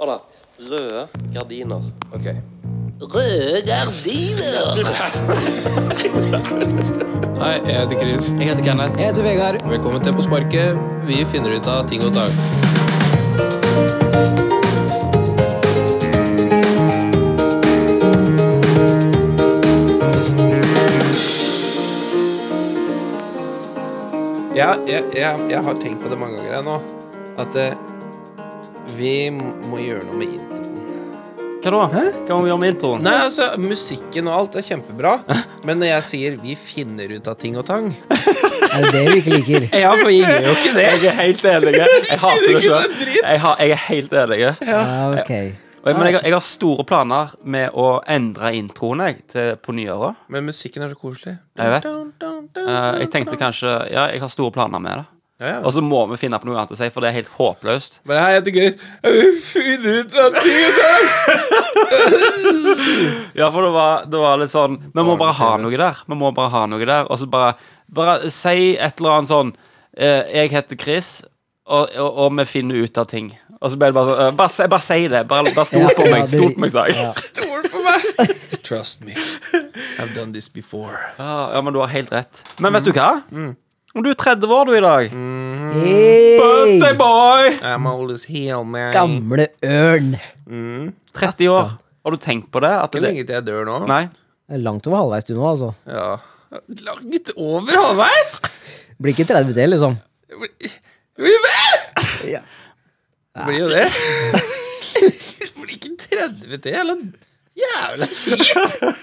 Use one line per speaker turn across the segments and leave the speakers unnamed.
Hør da. Røde gardiner.
Ok.
Røde gardiner!
Hei, jeg heter Chris.
Jeg heter Kenneth.
Jeg heter Vegard.
Velkommen til På sparket. Vi finner ut av ting og tang. Ja, jeg, jeg, jeg har tenkt på det mange ganger jeg nå. At eh, vi må gjøre noe med introen.
Hva da? Hva må vi gjøre med introen?
Nei, altså, musikken og alt er kjempebra. Men når jeg sier 'vi finner ut av ting og tang'
Er det det du ikke liker?
Ja, for vi gjør jo ikke det.
Jeg er helt enig. Jeg hater det sjøl. Jeg, har- jeg er helt enig.
Ja, ok.
Og jeg- Men jeg, har- jeg har store planer med å endre introen jeg, til på nyåret.
Men musikken er så koselig.
Jeg vet. Eh, jeg tenkte kanskje Ja, jeg har store planer med det.
Ja, ja.
Og så må vi finne på noe annet å si, for det er helt håpløst.
Bare hei, jeg heter Chris. Jeg vil finne ut av ting og tang.
Ja, for det var, det var litt sånn Vi må bare ha noe der. Vi må bare ha noe der. Og så bare, bare si et eller annet sånn eh, Jeg heter Chris, og, og, og vi finner ut av ting. Og så ble det bare sånn eh, bare, si- bare si det. Bare, bare stol
Ja,
på
ja,
meg.
det-
Stol på meg, sa jeg.
ja.
Stol på meg. Trust me. I've done this before.
Ah, Ja, ja, men du har helt rett. Men vet du hva? Om du er 30 år, du, i dag. Birthday
Hey,
boy!
I'm old as hell, man.
gamle ørn.
30 år. Har du tenkt på det? At
Hvor
det
lenge til jeg dør nå?
Nei.
Det er Langt over halvveis du nå, altså.
Ja. Langt over halvveis?
Blir ikke 30 til, liksom.
Det blir- det Blir vel?
Ja.
Det blir jo det. Det blir ikke 30 til, eller? Jævla kjipt.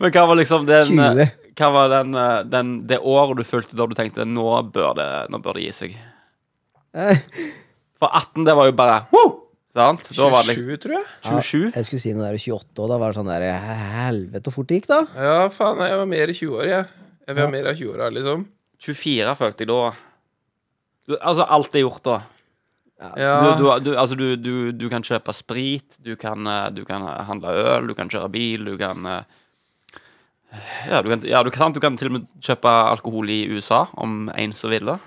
Men hva var liksom den
20.
Hva var den, eh, den, det året du fulgte da du tenkte nå bør det, nå bør det gi seg?
Eh,
For 18, det var jo bare Woo! Sant? Da var det liksom
27, tror jeg.
27?
Jeg skulle si noe der i 28, og da var det sånn der Helvete, hvor fort det gikk, da.
Ja, faen, jeg var mer i 20-år, jeg. Jeg vil ha mer av 20-åra, liksom.
24 følte jeg da. Du, altså, alt er gjort da.
Ja.
Du, du, du, altså, du, du, du kan kjøpe sprit, du kan, eh, du kan handle øl, du kan kjøre bil, du kan eh, Ja, du kan, ja, du kan, du kan til og med kjøpe alkohol i USA, om en som ville.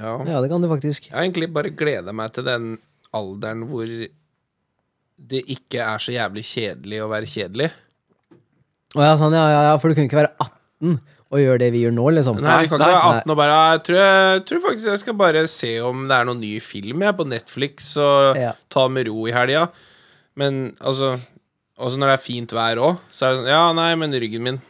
ja.
Ja, det kan du faktisk.
Jeg har egentlig bare gleda meg til den alderen hvor det ikke er så jævlig kjedelig å være kjedelig.
Å ja, sånn, ja, ja, ja, for du kunne ikke være 18 og gjøre det vi gjør nå, liksom.
Nei, vi kan
nei,
ikke være
nei.
18 og bare Jeg tror, jeg tror faktisk jeg skal bare se om det er noen ny film jeg på Netflix, og
Ja.
ta med ro i helga. Men altså Også når det er fint vær òg, så er det sånn Ja, nei, men ryggen min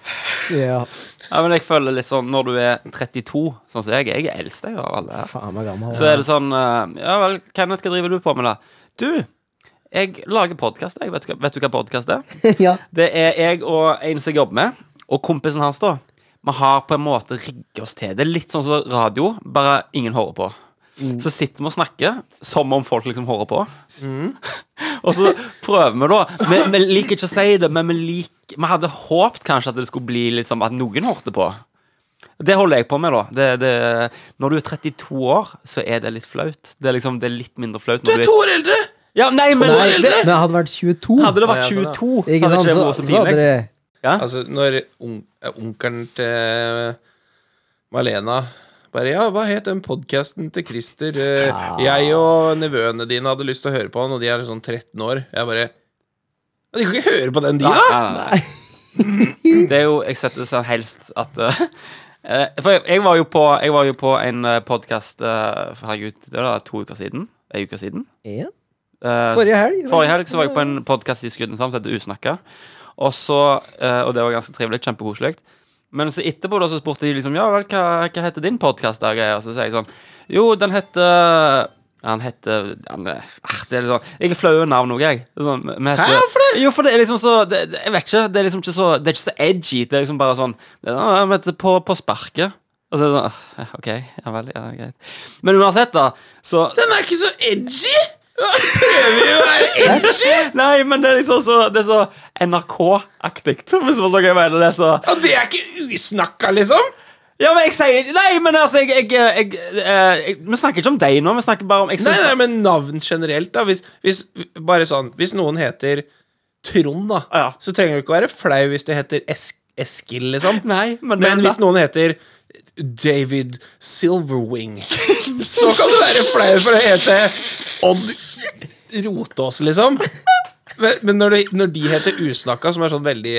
Ja,
Ja, men jeg føler litt sånn Når du er 32, sånn som jeg er Jeg er eldst jeg, av alle her.
faen meg gammel.
Så er det sånn eh, Ja vel, Kenneth, hva driver du på med, da? Du, jeg lager podkast. Vet, du hva- vet du hva podkast er?
ja.
Det er jeg og en som jeg jobber med, og kompisen hans, da. Vi har på en måte rigget oss til. Det er litt sånn som radio, bare ingen hører på. Så sitter vi og snakker som om folk liksom hører på. og så prøver vi, da. Vi, vi liker ikke å si det, men vi liker Vi hadde håpt kanskje at det skulle bli litt som at noen hørte på. Det holder jeg på med, da. Det, det, når du er 32 år, så er det litt flaut. Det er liksom, det er litt mindre flaut. når Du
år eldre!
Ja, nei, men
Nei, men jeg hadde vært 22,
Hadde det vært
Ja, sånn, ja.
22, så
ikke
hadde
sant,
ikke det
så,
vært så
så hadde
pinlig.
det
Altså, når on eh, onkelen til Malena bare Ja, hva het den podkasten til Christer? Eh, Jeg og nevøene dine hadde lyst til å høre på han, og de er sånn 13 år. Jeg bare «Ja, De kan ikke høre på den, de, da!
Nei, nei. Det er jo Jeg setter sånn helst at eh, For jeg, jeg, var jo på, jeg var jo på en podkast Herregud, det var to uker siden. En uke siden.
En?
Eh,
Forrige helg?
Forrige helg så var jeg på en podkast i Skudden sammen som heter Usnakka. Og, så, eh, og det var ganske trivelig. Kjempekoselig. Men så etterpå da så spurte de liksom Ja vel, hva, hva heter din podkast? Og greier? så sier jeg sånn Jo, den heter han heter han, er- ah, det er litt sånn, Jeg er flau over navnet òg, jeg. Det er Sånn, vi heter,
Hæ, hvorfor
det? Jo, for det er liksom så det, det, Jeg vet ikke. Det er liksom ikke så Det er ikke så edgy. Det er liksom bare sånn det er, «Ah, vi heter på, på sparket. Og så er det sånn ah, OK, ja vel, ja, greit. Men uansett, da, så
Den er ikke så edgy! Prøver jo å være edgy!
Nei, men det er liksom så, det er så NRK-aktig. Hvis man så kan mene det, så
Og det er ikke usnakka, liksom!
Ja, men jeg sier Nei, men altså, jeg, jeg, jeg, eh, jeg Vi snakker ikke om deg nå, vi snakker bare om jeg
Nei,
synes-
nei, men navn generelt, da. Hvis, hvis, bare sånn, hvis noen heter Trond, da,
Ja.
så trenger du ikke å være flau hvis du heter Esk Eskil, liksom.
Nei, men,
Men hvis noen heter David Silverwing, så kan du være flau for å hete Odd rote oss, liksom. Men, men når, de, når de heter Usnakka, som er sånn veldig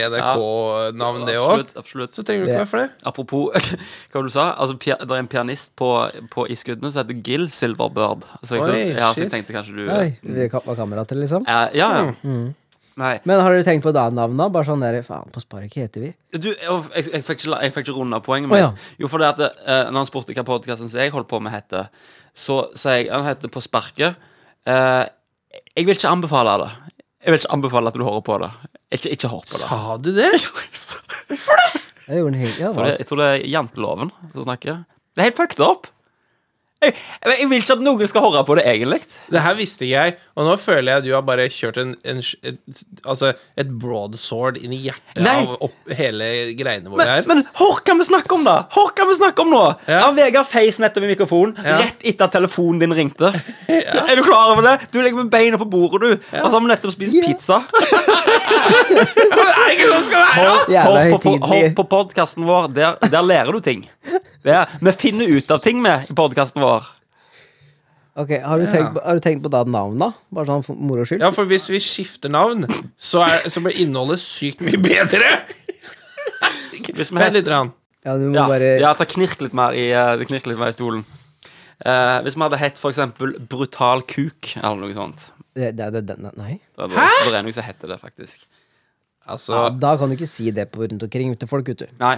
NRK-navn, det òg,
Absolutt. absolutt
så trenger du
Det-
ikke være flau.
Apropos hva var det du sa altså, pia- Det er en pianist på, på i skuddene som heter Gil Silverbird. Så, ikke sant?
Oi,
ja, så
shit.
jeg tenkte kanskje du
Oi, vi ka- var kamerater, liksom.
Eh, Ja, ja.
Mm,
Nei.
Men har dere tenkt på da navnet? Bare sånn der Faen, på Sparik heter vi.
Du, jeg, jeg, jeg, fikk ikke, la- jeg fikk ikke runda poenget
Å,
mitt.
ja.
Jo, for det at eh, Når han spurte hva podkasten som jeg holdt på med, heter, så sa jeg han heter På sparket. Eh, jeg vil ikke anbefale det. Jeg vil ikke anbefale at du hører på det. Ikke, ikke hør på det.
Sa du det?
Jeg gjorde den helt ja,
Jeg tror det,
hva?
jeg tror det er janteloven som snakker. Det er helt fucked up. Jeg, jeg, jeg vil ikke at noen skal høre på det, egentlig.
Det her visste ikke jeg, og nå føler jeg du har bare kjørt en, en, et, altså et broadsword inn i hjertet
Nei.
av opp, hele greiene våre
Men,
her.
men hør hva vi snakker om, da! Hør hva vi snakker om nå!
Ja.
Han Vegard feis nettopp i mikrofonen
Ja.
rett etter at telefonen din ringte. Er du klar over det? Du ligger med beina på bordet, du. Og så har vi nettopp spist
Ja.
pizza.
Ja, men er det ikke sånn det skal være?
Hør,
Jævla
hør på,
høytidelig.
hør på podkasten vår. Der, der lærer du ting. Det er, vi finner ut av ting, vi, i podkasten vår.
Ok, har du, tenkt, på- har du tenkt på da navnet? Bare sånn for moro skyld?
Ja, for hvis vi skifter navn, så, er, så blir innholdet sykt mye bedre.
Hvis vi
Vent
heter,
litt. Rann.
Ja, du må
ja,
bare
ja, ta knirk litt mer i, eh, knirk litt mer i stolen. Eh, hvis vi hadde hett for eksempel Brutal kuk eller noe sånt.
det, det, det, det, Nei.
Det, det, det er noe som heter det, faktisk.
Altså
Ja,
ja,
da kan du ikke si det på rundt omkring til folk, vet du.
Nei.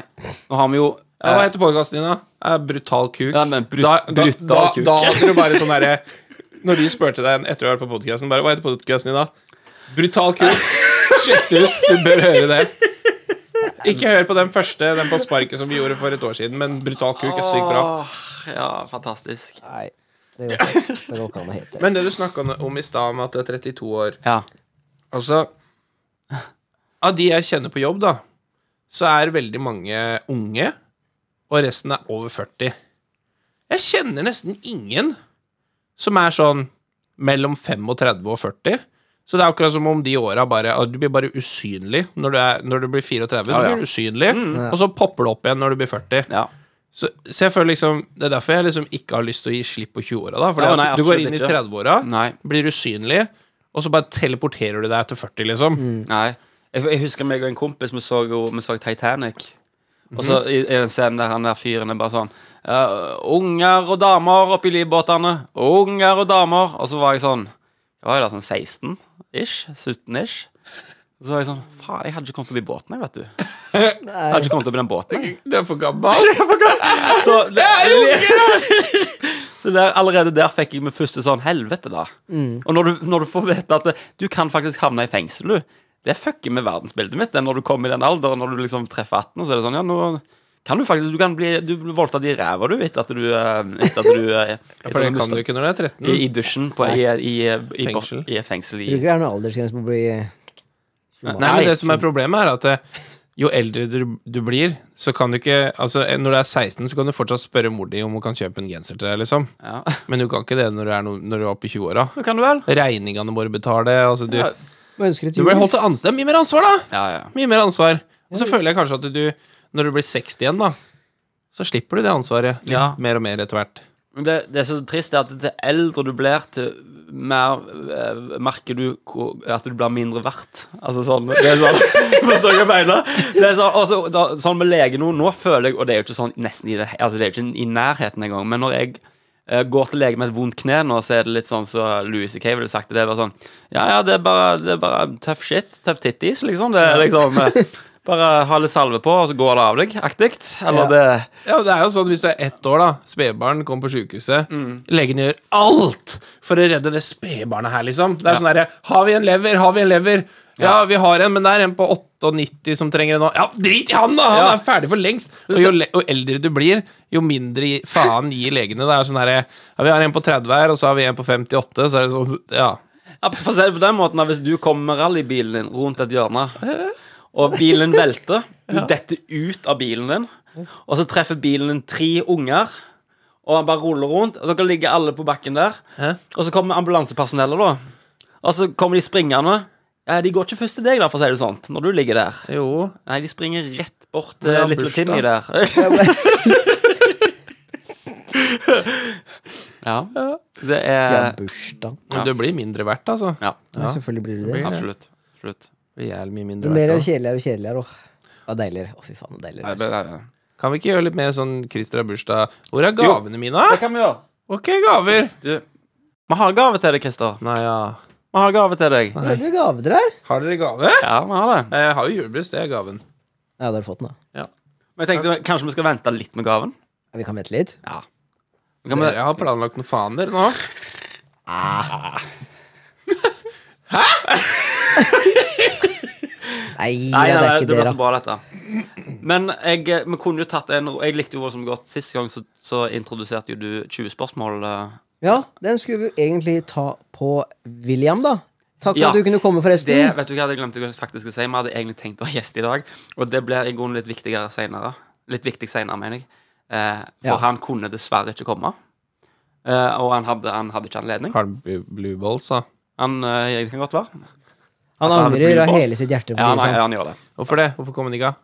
Nå har vi jo
Hva heter podkasten din, da? Eh, Brutal kuk.
Eh, Ja, men brut-
da, da,
brutal
da,
kuk.
da hadde du bare sånn derre Når de spurte deg etter å ha vært på podkasten, bare Hva heter podkasten din, da? Brutal kuk. Sjekk det ut. Du bør høre det. Ikke hør på den første, den på sparket som vi gjorde for et år siden, men Brutal kuk er sykt bra.
Åh, ja, fantastisk.
Nei. Det går ikke det går ikke an å hete.
Men det du snakka om i stad, med at du er 32 år
Ja.
Altså Av de jeg kjenner på jobb, da, så er veldig mange unge, og resten er over 40. Jeg kjenner nesten ingen som er sånn mellom 35 og 40. Så det er akkurat som om de åra bare ah, Du blir bare usynlig når du, er, når du blir 34. Så
Ja, Mm. ja.
blir du usynlig, og så popper det opp igjen når du blir 40.
ja.
Så, så jeg føler liksom Det er derfor jeg liksom ikke har lyst til å gi slipp på 20-åra, da. For
Ja, nei,
du går
absolutt
inn i
ikke.
30-åra,
Nei.
blir usynlig, og så bare teleporterer du deg til 40, liksom.
Nei. Jeg, jeg husker meg og en kompis, vi så, jo, vi så Titanic. Og så i, i den scenen der han der fyren er bare sånn «Ja, Unger og damer oppi livbåtene. Unger og damer. Og så var jeg sånn Hva var jeg da, sånn 16-ish? 17-ish? Så var jeg sånn Faen, jeg hadde ikke kommet opp i båten, jeg, vet du. Jeg hadde ikke kommet opp i den båten. Jeg.
Det er for gammelt.
Så, det, så der, allerede der fikk jeg min første sånn helvete, da.
Mm.
Og når du, når du får vite at eh, du kan faktisk havne i fengsel, du. Det fucker med verdensbildet mitt. det, Når du kommer i den alderen, når du liksom treffer 18, så er det sånn Ja, nå kan du faktisk Du kan bli Du blir voldtatt i ræva, du, etter at du eh, Etter at du eh, etter
For det
at
kan
du
du
sta-
ikke når du er 13.
i, I dusjen på, i, i, i, i,
Fengsel.
i fengsel.
Tror
I,
ikke det er noen aldersgrense på å bli
Nei, men det som er problemet, er at eh, jo eldre du, du blir, så kan du ikke Altså, eh, når du er 16, så kan du fortsatt spørre mor di om hun kan kjøpe en genser til deg, liksom.
ja.
Men du kan ikke det når du er, no, når du er oppe i 20-åra.
Nå kan du vel?
Regningene må du betale. Altså, du,
Ja.
Hva ønsker du
du
til
blir
jul?
holdt til ansvar. Det er mye mer ansvar, da!
Ja, ja.
Mye mer ansvar. Og så føler jeg kanskje at du, når du blir 60 igjen, da, så slipper du det ansvaret litt
Ja.
mer og mer etter hvert.
Men det, det er så trist er at til eldre du blir, til mer eh, merker du hvor- at du blir mindre verdt. Altså sånn Det er sånn Forstår du hva jeg mener? Det er sånn, og så- da, sånn med lege nå, nå føler jeg Og det er jo ikke sånn nesten i det Altså det er jo ikke i nærheten engang, men når jeg eh, går til lege med et vondt kne nå, så er det litt sånn som Louis C.K. ville sagt det. Det er bare sånn Ja, ja, det er bare, det er bare tøff shit. Tøff tittis, liksom. Det er liksom eh, Bare ha litt salve på, og så går det av deg. Aktig. Eller
Ja.
det
Ja, det er jo sånn at Hvis du er ett år, da spedbarn kommer på sykehuset Legen gjør alt for å redde det spedbarnet her, liksom. Det er sånn derre Har vi en lever? Har vi en lever? Ja, vi har en, men det er en på 98 som trenger det nå. Ja, drit i han, da! Han
Ja.
er ferdig for lengst. Og jo, le og eldre du blir, jo mindre gi- faen gir legene. Det er sånn herre ja, Vi har en på 30 her, og så har vi en på 58, så er det sånn Ja.
Ja, for å si det på den måten at Hvis du kommer med rallybilen din rundt et hjørne, og bilen velter Du detter ut av bilen din, og så treffer bilen din tre unger. Og han bare ruller rundt, og dere ligger alle på bakken der.
Hæ?
Og så kommer ambulansepersonellet, da. Og så kommer de springende. Ja, De går ikke først til deg, da, for å si det sånn, når du ligger der.
Jo.
Nei, de springer rett bort
Ja,
til Little
bursdag.
Timmy der. ja. Det er
Ja, bursdag.
Ja.
Det blir mindre verdt, altså.
Ja,
Ja, selvfølgelig blir det det.
absolutt. absolutt.
Det blir jævlig mye
Det
mindre
blir mer
verdt. da.
kjedeligere og kjedeligere òg. Ja, deiligere. Å, fy faen, så deiligere.
Nei,
det
det, det, det.
Kan vi ikke gjøre litt mer sånn Christer har bursdag? Hvor er
Jo.
gavene mine?
det kan vi gjøre.
Ok, gaver!
Du, vi har gave til deg, Christer.
Nei, ja.
Vi har gave til deg.
er. Hvilke gaver dere har?
Har dere gave?
Ja, vi har det.
Jeg har jo julebrus, det er gaven.
Ja, dere har fått den, da.
Men jeg tenkte kanskje vi skal vente litt med gaven.
Ja, vi kan vente litt.
Ja. Kan vi,
Dere har planlagt noen faner nå.
Nei,
Nei, nei,
ja, det er
nei, det
ikke det,
blir så
da.
bra, dette. Men jeg, eh, vi kunne jo tatt en Jeg likte jo Vår som godt. Sist gang så, så introduserte jo du 20 spørsmål. eh.
Ja, den skulle vi jo egentlig ta på William, da. Takk for
Ja,
at du kunne komme,
Det
forresten.
vet du hva, det glemte jeg faktisk å si. Vi hadde egentlig tenkt å ha gjest i dag, og det blir i grunnen litt viktigere senere. Litt viktig senere, mener jeg. Eh, for
Ja.
han kunne dessverre ikke komme. Eh, og han hadde, han hadde ikke anledning.
Har den bl- blue balls, da?
Han eh, jeg kan godt være.
Han
Altså, han
angrer
blir
av
boss.
hele sitt hjerte. for
Ja,
å si det
nei,
sånn.
han gjør det.
Hvorfor det? Hvorfor kom den ikke av?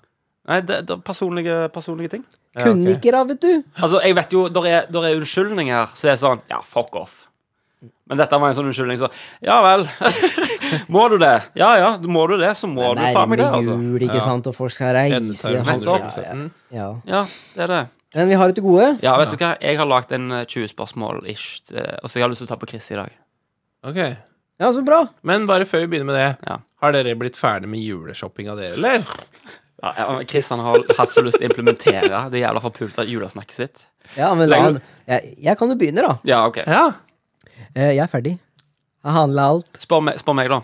Nei, det, det er personlige, personlige ting.
Ja,
Kunne
ok.
ikke, da, vet du.
Altså, jeg vet jo, der er, der er unnskyldninger Så det er sånn, ja, fuck off Men dette var en sånn unnskyldning så, Ja vel, må du det? Ja, ja, må du det, så må du faen meg det
nærmer
altså.
jul,
Ja.
ikke sant, og folk skal reise.
Endetarm
Han, ja, ja,
117.
ja.
Ja, det er det
Men vi har det til gode.
Ja, vet du hva, jeg har lagt en eh, 20 spørsmål-ish eh, Og så jeg har lyst til å ta på Chris i dag
Ok.
Ja, så bra.
Men bare før vi begynner med det,
Ja.
har dere blitt ferdig med juleshoppinga dere, eller?
ja, ja, men Chris han har hatt så lyst til å implementere Det jævla forpulte julesnakket sitt
Ja, men la
Legger
han jeg, jeg kan jo begynne, da.
Ja, ok
Ja.
Eh, Jeg er ferdig. Jeg handla alt.
Spør meg, spør meg da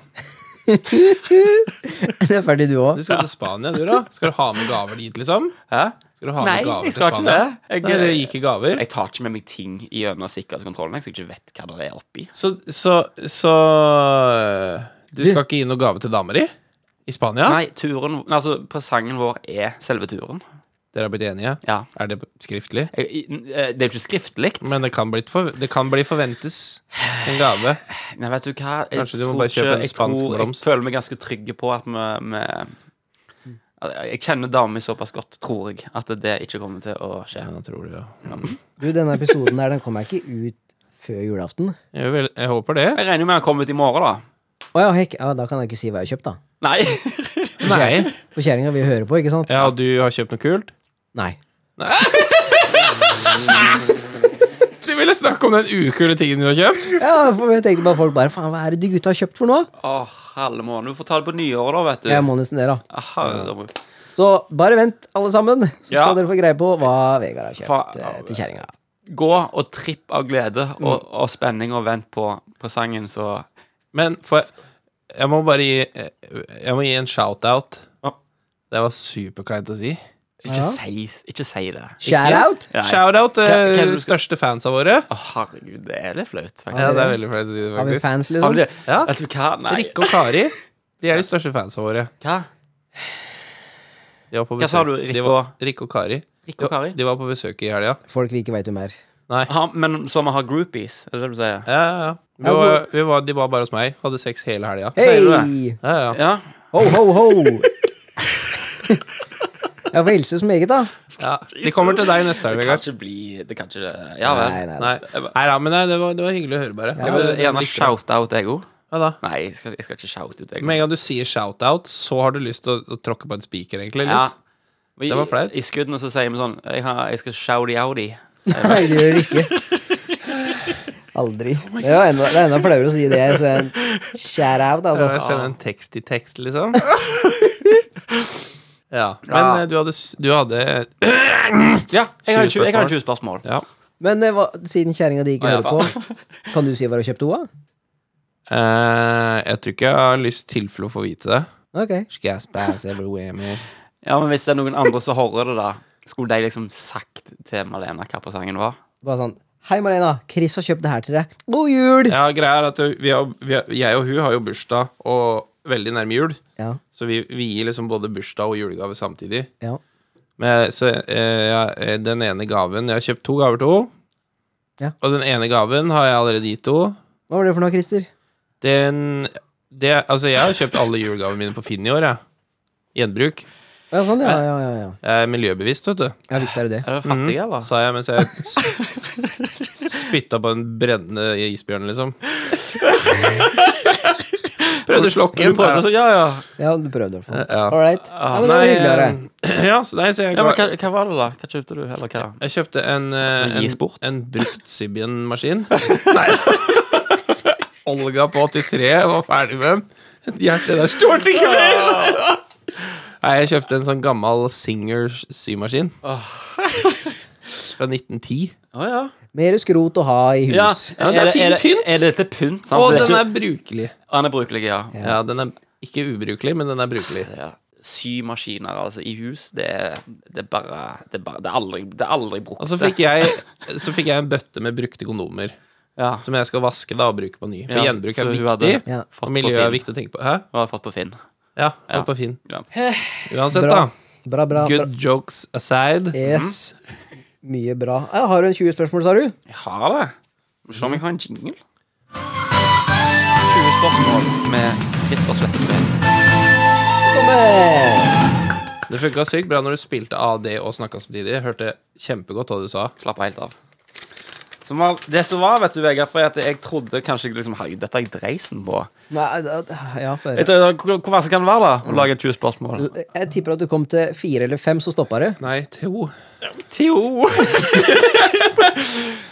Du er ferdig, du òg.
Du skal til Spania, du, da? Skal du ha med gaver dit, liksom?
Hæ?
Skal du ha
Nei,
med gaver
jeg
til
skal ikke
Spania?
det jeg,
Nei, dere gikk i gaver?
jeg tar ikke med meg ting i øynene sikkerhetskontrollen Jeg så ikke vet hva det er oppi
Så, så, så Du skal ikke gi noe gave til damer i? I Spania?
Nei, turen, altså presangen vår er selve turen.
Dere har blitt enige?
Ja.
Er det skriftlig?
Jeg- jeg- Det er jo ikke skriftlig.
Men det kan, bli for, det kan bli forventes en gave.
Nei, vet du hva? Jeg
Kanskje du må
tror
bare
ikke-
kjøpe en
jeg
spansk
tror-
blomst. Mm.
Jeg føler meg ganske trygge på at vi, vi Jeg kjenner damer såpass godt, tror jeg, at det ikke kommer til å skje.
Ja, tror du, ja.
Du, denne episoden der, den kommer jeg ikke ut før julaften.
Jeg, vil, jeg håper det.
Jeg regner jo med han kommer ut i morgen, da.
Å ja, hekk. Ja, da kan jeg ikke si hva jeg har kjøpt, da.
Nei!
Nei.
For kjerringa vil høre på, ikke sant?
Ja, og du har kjøpt noe kult?
Nei.
Du ville snakke om den ukule tingen du har kjøpt?
Ja, for jeg tenkte bare folk bare Faen, hva er det de gutta har kjøpt for noe?
Åh, halve måned. Du får ta det på nyåret, da, vet du. Ah,
Jeg må nesten det, da.
Herregud.
Så bare vent, alle sammen, så
Ja.
skal dere få greie på hva Vegard har kjøpt
Faen.
eh, til kjerringa.
Gå og tripp av glede
Mm.
og, og spenning og vent på presangen, så
Men for Jeg må bare gi Jeg må gi en shout-out.
Ja.
Det var superkleint å si.
ikke,
Ja.
si, ikke si det.
Shout out!
Nei.
Shout-out til
Hvem- hvem
de
du skal-
største fansa våre.
Å, herregud, det er litt flaut, faktisk.
Ja, det er veldig flaut å si det,
Har vi
faktisk.
fans,
Har vi
liksom?
det?
Ja.
Vet du hva? Nei.
Rikke og Kari, de er de største fansa våre.
Hva?
De var på
Hva sa
besøk-
du,
de
Rikke
var-
og,
Rikke og Kari.
Rikke og Kari?
De var på besøk i helga.
Folk vi ikke veit hvem er.
Nei.
Ha, men så vi har groupies, er det det du sier?
Ja, ja, ja. Vi
Ja,
var, vi var, de var bare hos meg. Hadde sex hele helga.
Sier du
Hei!
Ja, ja.
Ja.
Ho, ho, ho! Ja, for Else som eget, da.
Ja, de kommer til deg neste helg,
Det kan
Vegard.
ikke bli Det kan ikke Ja vel.
Nei, nei,
Nei, nei da, men nei, det, var, det var hyggelig å høre, bare.
Jeg vil gjerne
Likte det.
shout-out, jeg òg.
Ja, da.
Nei, jeg skal, jeg skal ikke shout ut, jeg.
Med en gang du sier shout-out, så har du lyst til å, å tråkke på en spiker, egentlig. Litt.
ja. Vi,
Det var flaut.
I skuddene så sier vi sånn Jeg, har, jeg skal shouty-outy.
Nei, det gjør det ikke. Aldri.
Oh
Det er jo enda, det er enda flauere å si det. Så en shout out,
Ja, jeg
altså.
sender en tekst i tekst, liksom. Ja. Men
Ja.
eh, du hadde, s- du hadde
Ja, jeg har,
20
tjue- jeg
spørsmål.
har 20 spørsmål.
Ja.
Men eh, hva, siden kjerringa di ikke
Å, ja,
hører på, kan du si hva du har kjøpt henne?
Eh, jeg tror ikke jeg har lyst tilfelle å få vite det.
Ok.
Skal jeg spæse everywhere med
Ja, men hvis det er noen andre som hører det, da, skulle de liksom sagt til Malena hva presangen var?
Bare sånn Hei, Malena. Chris har kjøpt det her til deg. God jul!
Ja, greia er at vi har, vi har, jeg og hun har jo bursdag og veldig nærme jul.
Ja.
Så vi, vi gir liksom både bursdag og julegave samtidig.
ja.
Men, så eh, ja, den ene gaven Jeg har kjøpt to gaver til henne.
Ja.
Og den ene gaven har jeg allerede gitt henne.
Hva var det for noe, Christer?
Den det, Altså, jeg har kjøpt alle julegavene mine på Finn i år, jeg. Gjenbruk.
Ja, sånn, ja, ja, ja, ja.
Jeg er miljøbevisst, vet du. Hm,
ja visst er det det.
Er du fattig, eller?
Sa jeg mens jeg s- spytta på en brennende isbjørn, liksom. Prøvde å slokke
Du
den.
prøvde
da.
også, ja, ja.
Ja, du prøvde i hvert fall.
Ja. Ah,
All right. Ja, men det var
Nei,
hyggelig å høre.
eh, ja, så, nei, så jeg,
ja men hva,
ga-
hva var det, da? Hva kjøpte du? Eller hva?
jeg kjøpte en, eh,
Gis
en,
bort.
en brukt Sibian-maskin. Olga på 83 var ferdig med den. Hjertet der står til kveld! Nei, jeg kjøpte en sånn gammel Singers symaskin. Fra 1910.
Å, ja.
Mer skrot å ha i hus.
Ja,
Ja, det er fin
er, det,
pynt.
er dette pynt? Sant?
Å,
For det
den
er
er brukelig.
ikke- Han er brukelig, ja.
Ja, den er ikke ubrukelig, men den er brukelig.
ja. Symaskiner altså, i hus, det er, det er bare Det er, bare, det er aldri, det er aldri brukt.
Og så fikk jeg, så fikk jeg en bøtte med brukte kondomer.
ja.
Som jeg skal vaske da og bruke på ny. For
Ja,
gjenbruk
så
er
hun
viktig.
hadde
Ja.
Og miljøet
Finn.
er viktig å tenke på. Hæ?
Hva har jeg fått på Finn?
Ja, fått
Ja.
på Finn.
Ja.
Uansett,
Bra.
da.
Bra, bra. bra.
Good Mhm. jokes aside.
Yes. Mye bra. Ja, har du en 20 spørsmål, sa du?
Jeg har det. Må se om jeg har en jingle. 20 spørsmål med tiss og svettebit.
Kom med!
Det funka sykt bra når du spilte AD og snakka samtidig. Jeg hørte kjempegodt hva du sa.
Slapp helt av. Så man, det som var, vet du, Vegard, for at jeg trodde kanskje jeg liksom, Herregud, dette har jeg dreisen på.
Nei, da- da- ja, for,
Jeg trodde, hvor hvor vanskelig kan det være, da? Å lage 20 spørsmål?
jeg tipper at du kom til fire eller fem, så stoppa det.
Nei, Theo.
Tjo!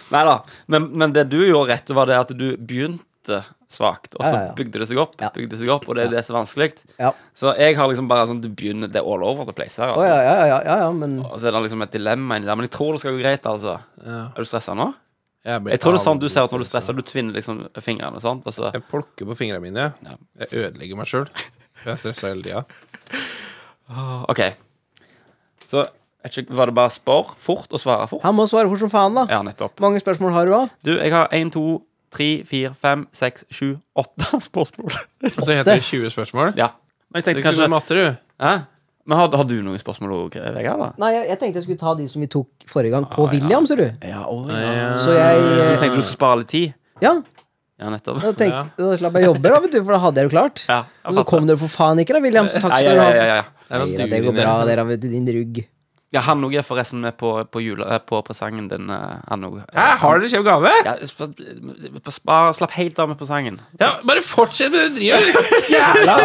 Nei da. Men, men det du gjorde rett, var det at du begynte svakt, og så
Ja, ja, ja.
bygde det seg opp,
Ja.
bygde det seg opp, og det er det som er vanskelig.
Ja.
Så jeg har liksom bare sånn Du begynner det er all over the place her,
Å
altså.
ja, ja, ja, ja, ja, men
Og så er det liksom et dilemma inni der, men jeg tror det skal gå greit, altså.
Ja.
Er du stressa nå?
Jeg, ble
Jeg tror det er sånn du
aldri
ser ut når du
stressa.
stresser. Du tvinner liksom fingrene Altså, og sånt. og så-
Jeg plukker på fingrene mine.
Ja.
Jeg ødelegger meg sjøl. Jeg er stressa hele tida.
OK. Så jeg vet ikke, var det bare spør fort og svare fort?
han må svare fort som faen, da.
Ja, nettopp.
Mange spørsmål har du, da?
Du, jeg har én, to, tre, fire, fem, seks, sju, åtte spørsmål.
Og så heter det 20 spørsmål.
Ja. Men jeg
Du er
tenkte
ikke
kanskje
god i matte, du.
Hæ? Men har, har du noen spørsmål òg, Vegard? da?
Nei, jeg, jeg tenkte jeg skulle ta de som vi tok forrige gang, på William, ser du.
Ja, å, ja. Så
Så jeg
jeg
eh,
tenkte du skulle spare litt tid?
Ja,
Ja, nettopp.
da, tenkte, da slapp jeg jobbe, da, vet du, for da hadde jeg jo klart.
Ja, jeg
Men så kom dere for faen ikke, da, William. Så takk
Ja, ja,
skal du
ja,
ha.
ja, ja.
Det er noen
Nei, da, det går
duer
bra,
nede.
dere, vet du, din rugg.
ja han òg er forresten med på, på, jule, eh, på presangen din. eh, Han òg.
Hæ, har dere kjøpt gave?
Ja, sp- sp- bare slapp helt av med presangen.
Ja, bare fortsett med det du driver Jævla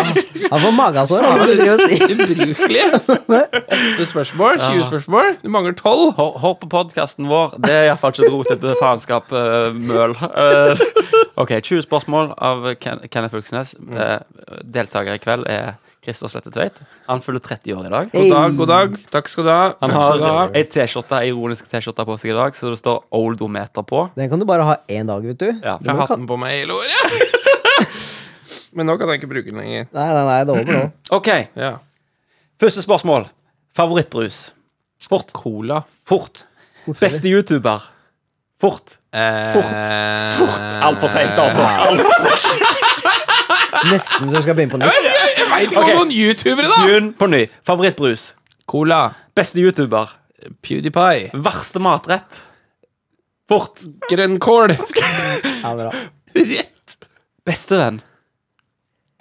Han får magesår, han. hvis du driver og sier-
ubrukelig! Åtte spørsmål? 20 spørsmål? Du mangler tolv.
Hør, hør på podkasten vår. Det er iallfall ikke et rotete faenskap, eh, møl. Eh, OK, 20 spørsmål av Ken Kenneth Fylkesnes. Eh, deltaker i kveld er Christer Slette Tveit. Han fyller 30 år i dag.
God dag, god dag. Takk skal du ha.
Han
Takk skal du ha.
har ei T-skjorte, ei ironisk T-skjorte på seg i dag, så det står Oldometer på.
Den kan du bare ha én dag, vet du.
Ja.
Du
Jeg har
må
hatt
ka-
den på meg hele året. Men nå kan jeg ikke bruke den lenger.
Nei, nei, nei, det er over nå.
OK,
Ja.
første spørsmål. Favorittbrus? Fort.
Cola.
Fort. Beste YouTuber? Fort. Fort. Fort.
Eh,
Altfor seint, altså.
Nesten så vi skal begynne på nytt.
Jeg veit ikke om
Ok.
noen youtubere, da!
Begynn på ny. Favorittbrus?
Cola.
Beste YouTuber?
PewDiePie.
Verste matrett? Fort.
Grønnkål.
Ja, bra.
Rett.
Beste venn?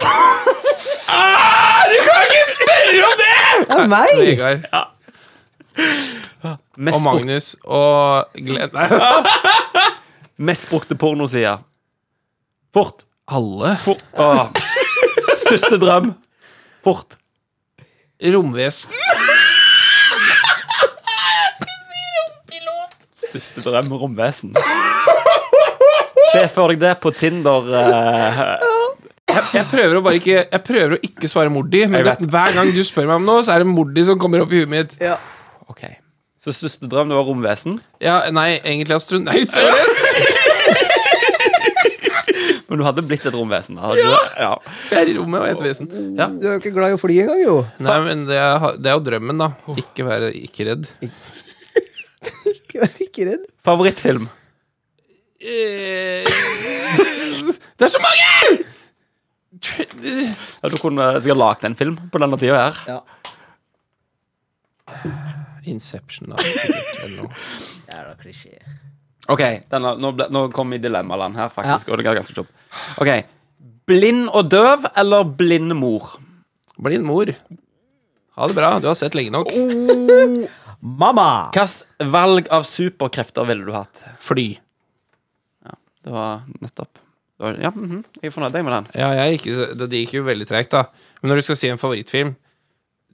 Ah, du kan ikke spørre om det!
Ja, meg!
Vegard og
Mest, bruk
Magnus og Glenn. Nei,
mest brukte pornoside? Fort.
alle.
Fort. Åh. Største drøm? Fort.
Romvesen.
Største drøm romvesen. Se for deg det på Tinder. eh,
Jeg prøver å bare ikke Jeg prøver å ikke svare Mordi, men
Jeg vet.
det- hver gang du spør meg om noe, så er det Mordi som kommer opp i huet mitt.
Ja.
ok Så største drøm det var romvesen,
Ja, nei, egentlig astronaut. Det var det jeg skulle si.
men du hadde blitt et romvesen? Hadde du det? ja.
Jeg er i rommet og er et vesen. Ja.
Du er jo ikke glad i å fly engang, jo.
Nei, men det er, det er jo drømmen, da. Ikke være ikke redd.
Ikke vær ikke redd.
Favorittfilm?
Eh, Det er så mange! Tr-
Ja, du kunne sikkert lagd en film på denne tida her.
Ja.
Inception, da. sikkert, eller noe.
Jævla klisjé.
Ok, denne, nå, ble, nå kom vi i dilemmaland her, faktisk.
Ja.
Og det er ganske kjapt. Ok, Blind og døv eller blind mor?
Blind mor. Ha det bra. Du har sett lenge nok.
Mamma!
Hvilket valg av superkrefter ville du hatt? Fly. Ja, det var nettopp. Det var, ja, mhm. Jeg er fornøyd jeg, med den.
Ja, jeg gikk, jo- det, det gikk jo veldig tregt, da. Men når du skal si en favorittfilm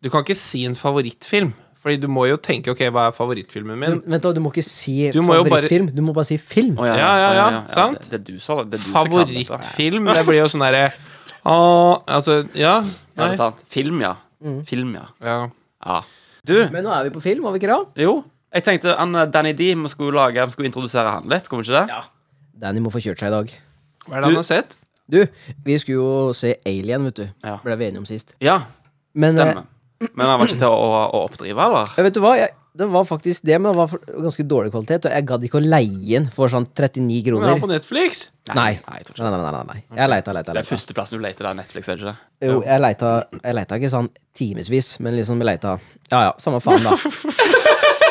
Du kan ikke si en favorittfilm, Fordi du må jo tenke Ok, hva er favorittfilmen min?
Vent, da, du må ikke si
Du må jo bare-
favorittfilm. Du må bare si film.
Å,
Ja, ja, ja, sant?
Det, det er du som det er du som kan dette.
Favorittfilm? Det blir jo sånn derre Åh, Altså, ja.
Ja, det
Nei.
er sant. Film, ja. Film, ja.
Ja.
ja. Du,
Men nå er vi på film, var vi ikke det?
jo. Jeg tenkte han, eh, Danny D vi skulle, lage, vi skulle introdusere han litt, skulle vi ikke det?
Danny må få kjørt seg i dag.
Hva er det han har sett?
Du, vi skulle jo se Alien, vet du.
Ja.
Ble vi enige om sist.
Ja,
Men,
stemmer. Men han var ikke til å, å, å oppdrive, eller?
Eh, vet du hva? Jeg, den var faktisk det, men den var for, ganske dårlig kvalitet. Og jeg gadd ikke å leie den for sånn 39
Den er på
kroner.
Netflix.
Nei.
Nei, jeg tror ikke.
Nei, nei, nei, nei, nei. Jeg leita, leita,
Det er
leita.
førsteplassen du leter der, Netflix, er det ikke det?
Jo, jeg leita, jeg leita ikke sånn timevis, men liksom jeg leita Ja ja, samme faen, da.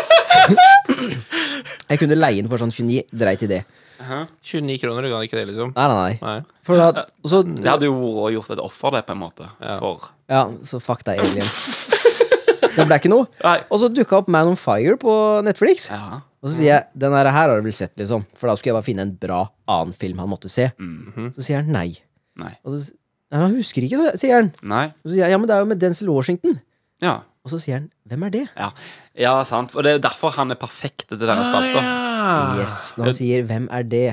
jeg kunne leie den for sånn 29, dreit i det.
29 kroner, du kan ikke det, liksom?
Nei, nei, nei.
Nei.
For da, og så,
Det hadde jo vært å gjort et offer, det, på en måte. For
ja, så fuck deg, Alien. Det ble ikke noe.
Nei.
Og så dukka opp Man on Fire på Netflix.
Ja.
Og så sier jeg den her her har du vel sett, liksom. For da skulle jeg bare finne en bra annen film han måtte se.
Mhm.
Så sier han nei.
Nei.
Og så, s- ja, han husker ikke, det», sier han.
Nei.
Og så sier jeg ja, men det er jo med Denzil Washington.
Ja.
Og så sier han hvem er det?
Ja, ja sant. Og det er jo derfor han er perfekt til denne spalta.
Yes,
Ah.
Når han sier hvem er det?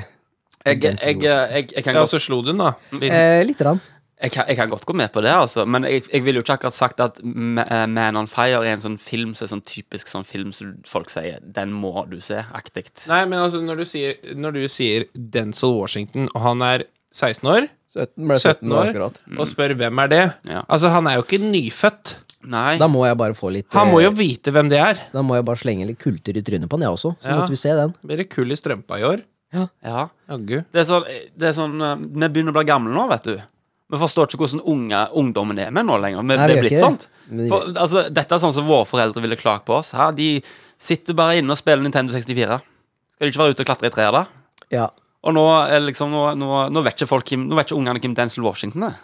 Jeg, jeg, jeg, jeg, jeg, kan
Ja,
godt,
så slo du den, da. Liten.
Eh, Lite grann.
jeg, kan- jeg kan godt gå med på det, altså. Men jeg, jeg ville jo ikke akkurat sagt at Ma- eh, Man on Fire er en sånn film som er sånn typisk sånn film som folk sier 'den må du se', aktig.
Nei, men altså, når du sier, når du sier Denzil Washington, og han er 16 år
17 ble
17 år og spør hvem er det.
Ja.
Altså, han er jo ikke nyfødt.
Nei.
Da må jeg bare få litt
Han må
eh,
jo vite hvem det er.
Da må jeg bare slenge litt kultur i trynet på han, jeg også. Så
Ja.
måtte vi se den.
Blir det kull i strømpa i år?
Ja.
Jaggu.
Det er sånn, det er sånn eh, Vi begynner å bli gamle nå, vet du. Vi forstår ikke hvordan unge, ungdommen er med nå lenger. Vi vi
Nei, vi
er
gjør
blitt
ikke
sånt.
det. Vi-
For, altså, dette er sånn som våre foreldre ville klagt på oss. Hæ? De sitter bare inne og spiller Nintendo 64. Skal de ikke være ute og klatre i trær, da?
Ja.
Og nå, er liksom, nå, nå, nå vet ikke folk hvem- Nå vet ikke ungene hvem Denzil Washington er.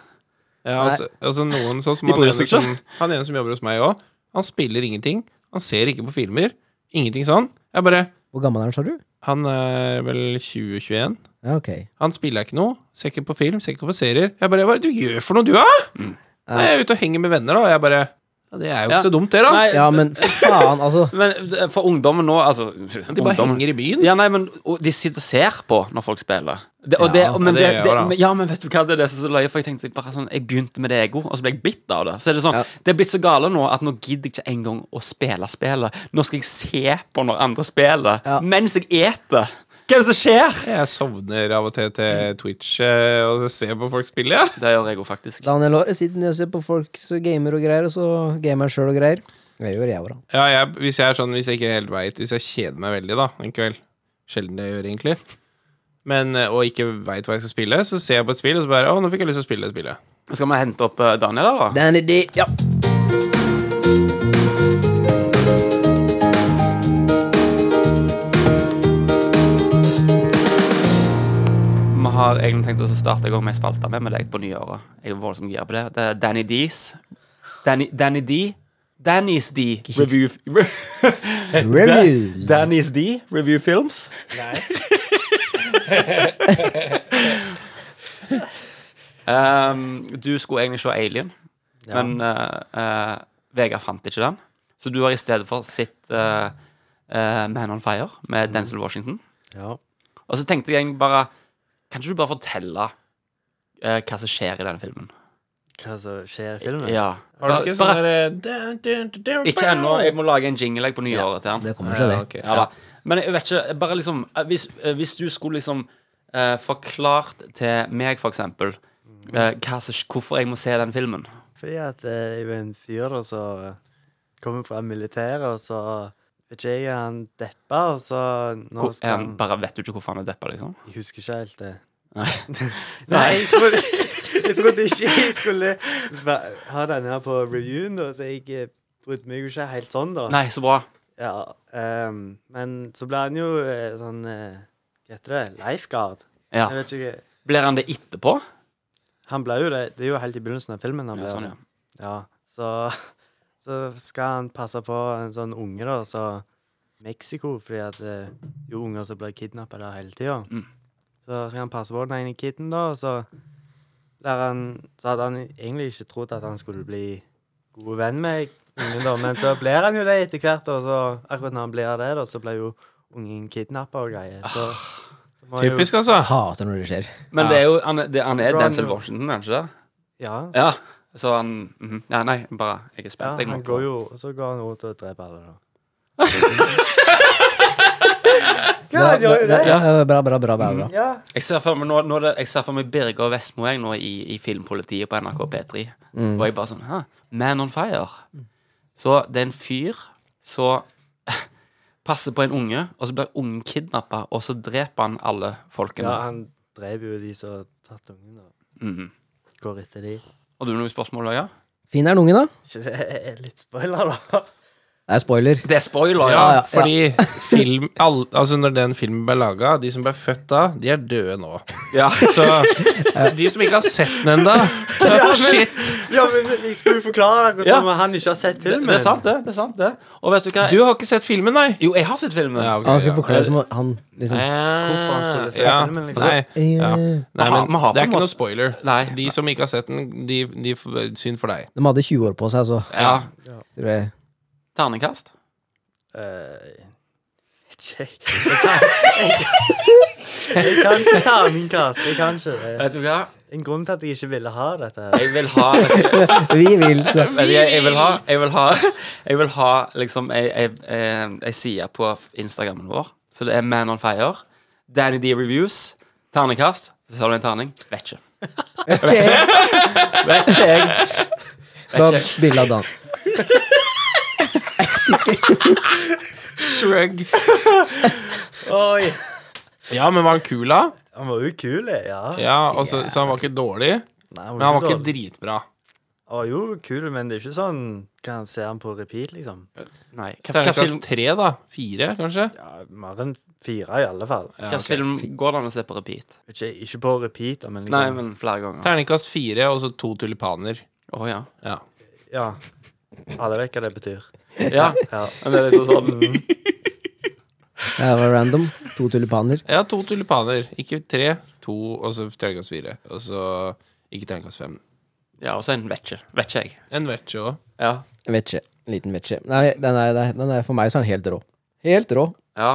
Ja, altså, altså noen sånn som
De
han
bryr
ene
seg
som,
ikke.
han ene som jobber hos meg òg. Han spiller ingenting. Han ser ikke på filmer. Ingenting sånn. Jeg bare
Hvor gammel er han, sa du?
Han er vel 2021.
Ja, ok.
Han spiller ikke noe. Ser ikke på film, ser ikke på serier. Jeg bare Hva er det du gjør for noe, du, da? Nei, jeg er ute og henger med venner, da. Og jeg bare ja, Det er jo ikke
Mm. Ja.
så dumt, det, da.
Nei,
Ja, men for faen, altså.
Men eh, for ungdommen nå altså,
De bare
ungdommen-
henger i byen.
Ja, nei, men og De sitter og ser på når folk spiller. Det, og
Ja,
det, men
det gjør
det, det,
det.
men- ja, men vet du hva, det er det som er så løye. For jeg tenkte bare sånn Jeg begynte med det ego, og så ble jeg bitt av det. Så er det sånn
Ja.
Det er blitt så gale nå at nå gidder jeg ikke engang å spille spillet. Nå skal jeg se på når andre spiller,
Ja.
mens jeg eter. Hva er det som skjer?
Jeg sovner av og til til Twitch eh, og ser på folk spille, ja.
Det gjør jeg jo faktisk.
Daniel Aare sitter nede og ser på folk som gamer og greier, og så gamer han sjøl og greier. Det gjør jeg òg, da.
ja jeg, hvis jeg er sånn, hvis jeg ikke helt veit Hvis jeg kjeder meg veldig, da, en kveld Sjelden det jeg gjør, egentlig. Men, eh, og ikke veit hva jeg skal spille, så ser jeg på et spill, og så bare Å, nå fikk jeg lyst til å spille det spillet.
Skal vi hente opp eh, Daniel, da?
Danny D. Ja.
Vi har egentlig tenkt oss å starte i gang med ei spalte med med deg på nyåret. Jeg er voldsomt gira på det. Det er Danny D's. Danny, Danny D. Danny's D. Review
Reviews.
Da- Danny's D. Review Films. um, du skulle egentlig se Alien, men eh, eh, Vegard fant ikke den. Så du har i stedet for sett eh, eh, Man on Fire med Denzil Washington.
Ja.
Og så tenkte jeg egentlig bare Kan ikke du bare fortelle eh, hva som skjer i denne filmen?
Hva som skjer i filmen?
Ja.
Har du
Bare-
ikke sånn
bare-
derre
Ikke ennå. Jeg må lage en jingle jeg, på nyåret til
Det
han.
kommer seg, det.
eh, Ja, da. Men jeg vet ikke Bare liksom eh, Hvis, eh, hvis du skulle liksom eh, forklart til meg, for eksempel,
Mm.
eh, hva som, hvorfor jeg må se den filmen
Fordi at eh, jeg er jo en fyr da som kommer fra militæret, og så vet ikke jeg han deppa, og så nå
hvor,
skal
eh,
han
Bare vet du ikke hvorfor han er deppa, liksom?
Jeg husker ikke helt det. Nei,
Nei.
jeg trodde, jeg trodde ikke jeg skulle va- ha denne her på reviewen, da, så jeg eh, brydde meg jo ikke helt sånn, da.
Nei, så bra.
Ja, ehm, men så ble han jo eh, sånn eh, Hva heter det? Lifeguard. Jeg
Ja.
vet ikke.
Blir han det etterpå?
Han ble jo det. Det er jo helt i begynnelsen av filmen.
Sånn,
Han
Ja,
ble
sånn,
det.
ja.
Ja, så Så skal han passe på en sånn unge, da, så Mexico, fordi at det er jo unger som blir kidnappa der hele tida. Så skal han passe på den ene kiden, da, og så lærer han Så hadde han egentlig ikke trodd at han skulle bli god venn med ungen, da, men så blir han jo det etter hvert, og så akkurat når han blir det, da, så blir jo ungen kidnappa og greier. Så, så må jo-
Typisk, altså.
Hater når det skjer.
Men det er jo han, er- det, han er
Ron-
Denzel Washington, er han ikke det?
Ja.
Ja. Så han mhm. Ja, nei, bare Jeg er
Ja,
spent. jeg må
han
på.
går jo, og så går han rundt og dreper alle, da. ja, han gjør jo det.
Ja, ja, bra, bra, bra, bra, bra.
Ja.
Jeg ser for meg, nå, nå er det, jeg ser for meg Birger Vestmo jeg nå i, i Filmpolitiet på NRK P3. Og jeg bare sånn Hæ? Man on fire. Så det er en fyr som passer på en unge, og så blir ungen kidnappa, og så dreper han alle folkene.
ja, han dreper jo de som har tatt ungen, da.
Mhm.
Går etter de.
Og du har noen spørsmål, Løya?
Fin er den ungen, da?
Ikke det er litt spoiler, da?
Det er spoiler.
Det er spoiler, ja.
Ja,
ja.
fordi film all, Altså, når den filmen ble laga, de som ble født da, de er døde nå.
ja.
Så de som ikke har sett den ennå Shit!
Ja, men jeg skulle jo forklare deg
Ja.
hvordan han ikke har sett
Det,
filmen.
det er sant, det. det er sant det Og vet du hva?
Du har ikke sett filmen, nei?
Jo, jeg har sett filmen. Eh,
Ja, ok,
Han skulle
ja.
forklare som han liksom
Hvorfor han skulle se
Ja,
filmen, liksom.
Nei, ja. nei
Man har-
men
man har
det
på en
er ikke
måte-
noe spoiler.
Nei.
De som ikke har sett den, de, de f- synd for deg.
De hadde 20 år på seg, så
Ja.
tror jeg
Terningkast?
Eh, Jeg jeg kan ikke terningkast. Jeg kan ikke det.
Vet du hva?
En grunn til at jeg ikke ville ha dette. her.
Jeg vil ha vet du,
Vi vil så.
Vet du, jeg, jeg vil ha Jeg vil ha, jeg vil ha liksom ei- ei ei- ei side på Instagrammen vår. Så det er Man on Fire. Danny D Reviews. Ternekast. Så tar du en terning. Vet ikke. Vet ikke jeg.
Skal ha
Vet ikke.
bilde av Dan.
Shrug.
Oi!
Ja, men var han kul, da?
Han var jo kul, ja.
Ja, og så- Så han var ikke dårlig,
Nei,
men han var
dårlig.
ikke dritbra.
Han var jo kul, men det er ikke sånn Kan se han på repeat, liksom.
Nei. Hva, hva, film,
Terningkast tre, da? Fire, kanskje?
Ja, Mer enn fire, i alle fall.
Ja,
hva
ok.
film går det an å se på repeat?
Ikke, ikke på repeat, da, men liksom
Nei, men flere ganger.
Terningkast fire og så to tulipaner.
Å ja.
Ja.
Ja. Alle vet hva det betyr.
ja.
Ja.
Men det er liksom sånn
Det var random. To tulipaner.
ja, to tulipaner. Ikke tre, to, og så terningkast fire. Og så ikke terningkast fem.
Ja, og så en vet ikke. Vet ikke jeg.
En vetsje òg.
Ja.
Vetsje. Liten vetsje. Nei, den er, den er, for meg så er den helt rå. Helt rå.
ja.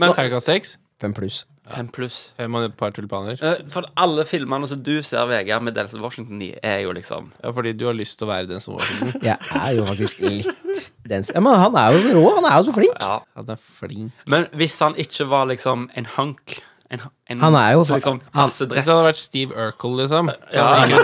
Men
Terningkast seks.
Fem pluss.
fem pluss.
Fem og et par tulipaner.
Eh, For alle filmene som du ser Vegard med Denzel Washington i, er jo liksom
Ja, fordi du har lyst til å være den som var den.
Jeg er jo faktisk litt dens. Ja, men han er jo rå. Han er jo så flink.
Ja.
Han er flink.
Men hvis han ikke var liksom en hunk en, en,
Han er jo-
så liksom
Hvis
halsedress
det hadde vært Steve Urkel, liksom.
Eh,
Ja.
Ja.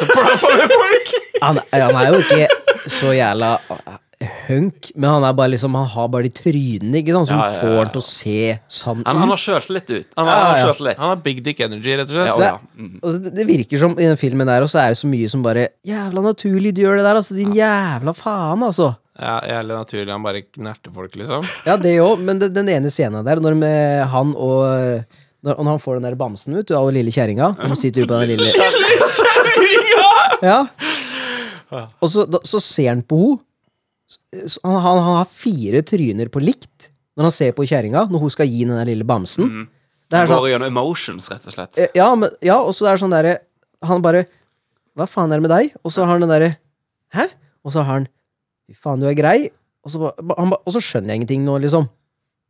Han, han er jo ikke så jævla eh, hunk, men han er bare liksom Han har bare de trynene ikke sant, som
Ja, ja, ja.
får han til å se sann
han, han
ut.
har sjøltillit ut. Han har, han
Ja,
har
ja.
sjøltillit.
Han har big dick energy, rett og slett.
Ja,
Det,
ja. Mm.
altså, det- det virker som i den filmen der, og så er det så mye som bare Jævla naturlig du gjør det der, altså. Din jævla faen, altså.
Ja, jævlig naturlig. Han bare knerter folk, liksom.
Ja, det òg, men det, den ene scenen der, når med han og når, når han får den der bamsen, vet du, av lille kjerringa Som sitter ute på den lille Ja. Og så, da, så ser han på henne. Så Han, han, han har fire tryner på likt når han ser på kjerringa, når hun skal gi den der lille bamsen. Det er sånn,
Går gjennom emotions, rett og slett.
eh, ja, men, ja, og så er det sånn derre Han bare Hva faen er det med deg? Og så har han den derre Hæ? Og så har han Fy faen, du er grei. Og så, ba- ba- han, ba- og så skjønner jeg ingenting nå, liksom.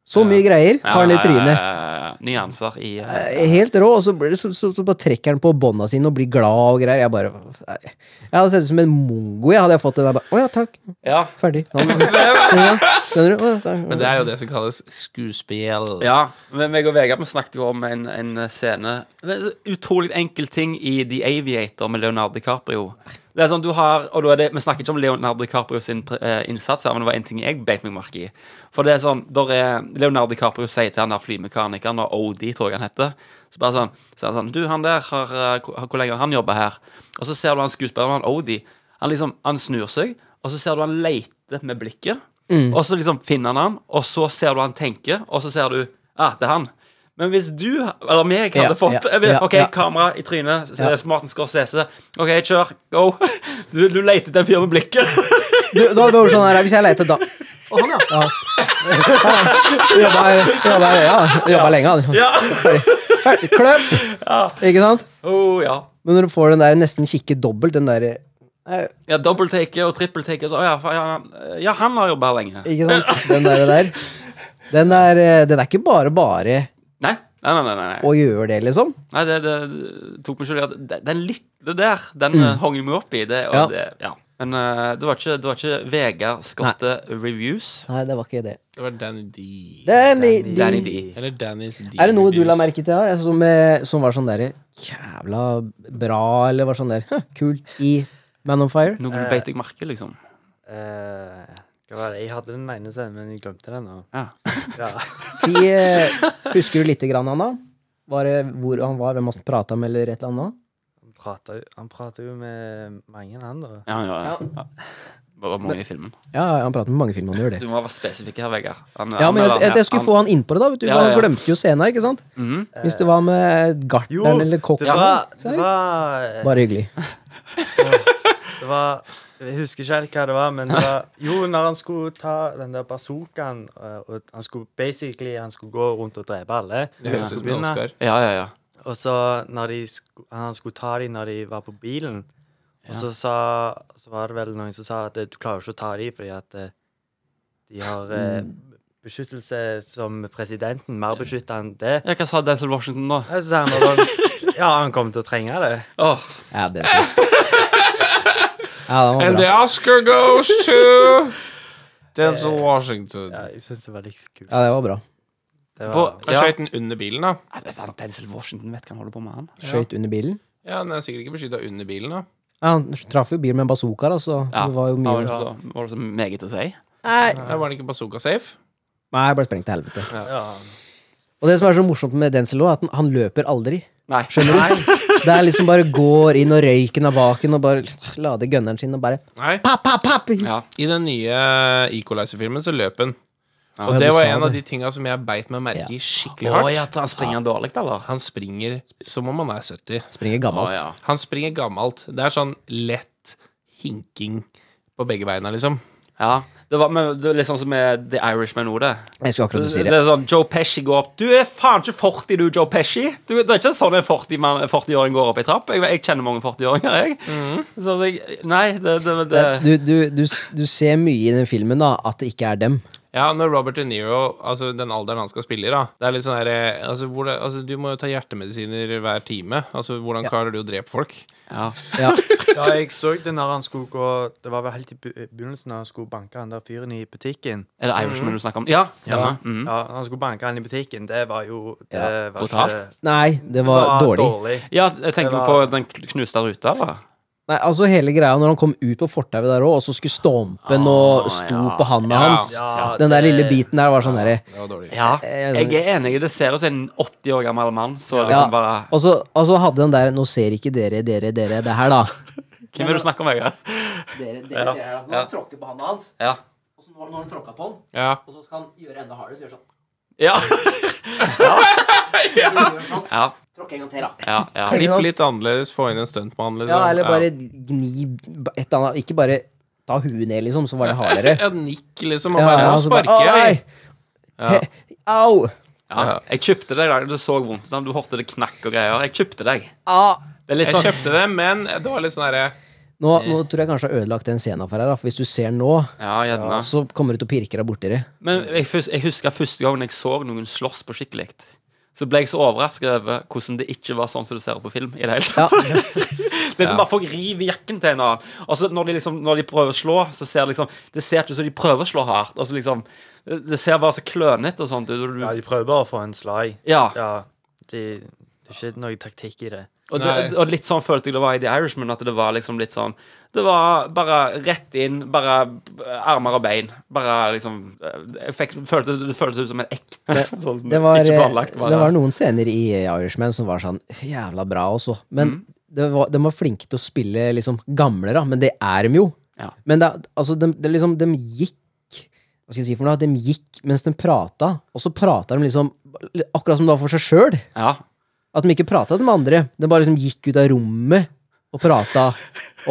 Så mye greier har han i trynet.
eh, nyanser i eh,
Eh, Helt rå, og så, blir det, så, så, så bare trekker han på bånda sine og blir glad og greier. Jeg bare nei. Jeg hadde sett ut som en mongo, jeg hadde jeg fått det der. Bare, Å ja, takk.
Ja.
Ferdig. Ja, ja, skjønner du? Å, ja, takk.
Men det er jo det som kalles skuespill.
ja. Men meg og Vegard vi snakket jo om en, en scene Det er så Utrolig enkel ting i The Aviator med Leonardo DiCaprio. Det er sånn du har Og da er det, Vi snakker ikke om Leonardo DiCaprio sin eh, innsats her, men det var en ting jeg beit meg merke i. For det er sånn der er Leonardo DiCaprio sier til han der flymekanikeren, og OD, tror jeg han heter Så bare sånn, så er han sånn Du, han der, har, eh, hvor, hvor lenge har han jobba her? Og så ser du han skuespilleren, han OD, han liksom, han snur seg, og så ser du han leter med blikket,
Mm.
og så liksom finner han han, og så ser du han tenker, og så ser du Ah, det er han. Men hvis du, eller meg, hadde
Ja,
fått
ja, ja,
OK,
ja.
kamera i trynet, så
Ja.
det er Martin Scorsese. OK, kjør. Go. Du, du leter etter en fyr med blikket.
Du, da, da var det sånn her, hvis jeg leter da Å, han, ja. ja. Jobba, jobba, ja, jobba lenge, han.
Ja.
Ferdig. Ferdig. Kløp! Ikke sant?
Oh, ja.
Men når du får den der nesten kikke dobbelt, den der eh,
ja Dobbelttake og trippeltake. og så, Å ja, fa- ja, han- ja, han har jobba her lenge.
Ikke sant? Den der, der. Den, er, eh, den er ikke bare bare
Nei, nei, nei. nei, nei, nei.
å gjøre det, liksom.
nei det, det tok meg selv i at de- Den lille der, den eh, hang jeg meg opp i. Det, og
Ja.
Det, ja. Men eh, det var ikke, det var ikke Vegard Skotte Reviews.
Nei, det var ikke det.
Det var Danny D.
Det er, en li- de-
Danny-
Danny D.
Eller Dannys D.
er det noe du la merke til her, som, eh, som var sånn derre jævla bra, eller var sånn der «Huh, kult i Man on Fire?
Noen beit jeg merke, liksom.
Eh, hva var det? Jeg hadde den ene scenen, men jeg glemte den. Og,
Ja.
ja.
Si, eh, husker du lite grann, Anna? Var det hvor han var, hvem han prata med, eller et eller annet?
Han prater jo- Han prater jo med mange andre.
Ja, ja, ja. ja. Det var mange i filmen.
Ja, han prater med mange filmer, han gjør det.
Du må være spesifikk her, Vegard. Han-
Ja,
han
men
eller
jeg, jeg,
han-
jeg skulle få han innpå det, da. Vet du,
Ja,
for
ja.
Han glemte jo scenen, ikke sant?
Mhm.
Hvis det var med gartneren eller kokken.
det var, det
så er det
var eh,
Bare hyggelig.
Det var Jeg husker ikke helt hva det var, men det var Jo, når han skulle ta den der bazookaen eh, og Han skulle basically Han skulle gå rundt og drepe alle.
Det høres ut som en Oscar.
Ja, ja, ja.
Og så når de sku, Han skulle ta dem når de var på bilen, og så sa Så var det vel noen som sa at eh, du klarer ikke å ta dem fordi at eh, de har eh,
Mm.
beskyttelse som presidenten. Mer beskytta enn det.
Ja, Hva sa Denzel Washington nå?
Og så sa han bare sånn, Ja, han kommer til å trenge det.
Åh,
Ja, det er sant. ja, den var
And
bra.
the Oscar goes to Denzel Washington.
Ja, jeg syns det var litt kult.
Ja, det var bra.
Det
på,
var,
Han
ja.
skøyt den under bilen, da.
Altså, vet du, Denzel Washington vet hva han holder på med, han.
Skøyt under bilen.
Ja, Den er sikkert ikke beskytta under bilen, da.
Ja, han traff jo bilen med en bazooka, da, så
Ja,
det var jo mye
Var det så, var det så meget å si?
Nei,
Nei, Var den ikke bazooka safe?
Nei, jeg ble sprengt til helvete.
ja.
Og det som er så morsomt med Denzelo, er at han, han løper aldri.
Nei.
Skjønner du? Det er liksom bare går inn og røyken av baken og bare lader gunneren sin og bare
Nei.
papp, papp, papp.
Ja.
I den nye Equalizer-filmen så løp den.
Ja.
Og
Ja,
det
du
var
sa
en av de
det.
tinga som jeg beit meg merke i skikkelig
Å
hardt.
ja, han springer han dårlig, eller?
Han springer som om han er 70.
Springer gammelt.
ja.
Han springer gammelt. Det er sånn lett hinking på begge beina, liksom.
ja. Det var, men, det var litt sånn som med The Irishman nå, det.
Jeg skulle akkurat si
Det
det.
er sånn, Joe Pesci går opp Du er faen ikke 40, du, Joe Pesci. Du, det er ikke sånn en 40-mann- 40-åring går opp i trapp. Jeg, jeg kjenner mange 40-åringer, jeg. Så jeg, nei, det, det, Mhm. det,
Det, du, du, du, s- du ser mye i den filmen da at det ikke er dem.
Ja, når Robert De Niro, altså den alderen han skal spille i, da Det er litt sånn her eh, altså, hvor det, altså, du må jo ta hjertemedisiner hver time. Altså, hvordan klarer du å drepe folk?
ja.
Ja,
Ja, jeg så det når han skulle gå Det var vel helt i be- begynnelsen når han skulle banke han der fyren i butikken.
Er det Irishman du snakker om? Mhm. Ja, stemmer. Mhm.
Ja, han skulle banke han i butikken. Det var jo det
Ja,
var
brutalt.
ikke-
Nei, det
det
var dårlig.
Ja, jeg tenker på
Det var-
den knuste ruta, eller?
Nei, altså Hele greia når han kom ut på fortauet der òg, og så skulle stompen og
Ah,
sto
ja.
på handa
Ja.
hans Den der lille biten der var sånn derre
Det var dårlig.
Ja,
Eh,
jeg er enig. Det ser ut som en 80 år gammel mann. Så
Ja.
liksom bare
Og så og så hadde den der Nå ser ikke dere, dere, dere det her, da.
Hvem er det du snakker om, Vegard?
Dere,
dere Ja. ser her, da. Nå har han
tråkker på handa hans,
Ja.
og så nå har han tråkka på han,
Ja.
og så skal han gjøre enda hardere, så gjør sånn.
Ja.
Tråkk
ja,
sånn. en gang til, da.
ja, ja.
Klipp litt annerledes, få inn en stuntmann, liksom.
Ja, eller bare gni et eller annet. Ikke bare ta huet ned, liksom, så var det hardere.
Ja, nikk, liksom. Og
Ja, altså,
bare ja,
ja, så
sparke.
bare,
jeg.
«Å, nei! He- Au!
ja. Jeg kjøpte deg i dag. Det så vondt ut. Du hørte det knakk og greier. Jeg kjøpte deg.
Ah.
Det er litt
Jeg
sånn
kjøpte det, men det var litt sånn herre
Nå, nå tror jeg kanskje jeg har ødelagt den scenen for deg, da, for hvis du ser nå,
Ja, gjerne.
så kommer du til å pirke deg borti det.
Men jeg, fus- jeg husker første gangen jeg så noen slåss på skikkelig. Så ble jeg så overraska over hvordan det ikke var sånn som du ser på film. i Det hele tatt Det er som bare folk river jakken til en annen. Og så når de, liksom, når de prøver å slå, så ser det liksom Det ser ikke ut som de prøver å slå hardt. Og så liksom Det ser bare så klønete og sånt ut. og du-
Ja, de prøver bare å få en slag.
Ja.
Ja, de, det er ikke noe taktikk i det.
Og, det,
Nei.
og litt sånn følte jeg det var i The Irishman. At det var liksom litt sånn Det var bare rett inn, bare eh, armer og bein. Bare liksom eh, jeg fikk, følte, Det føltes ut som en ekte sånn,
Det var, eh,
Ikke planlagt. Bare,
det var noen scener i Irishman som var sånn jævla bra også. Men
Mm.
det var, de var flinke til å spille liksom gamle, da. Men det er de jo.
Ja.
Men det, altså, de, det liksom, de gikk Hva skal jeg si for noe? De gikk mens de prata, og så prata de liksom akkurat som det var for seg sjøl.
ja.
At de ikke prata med andre. De bare liksom gikk ut av rommet og prata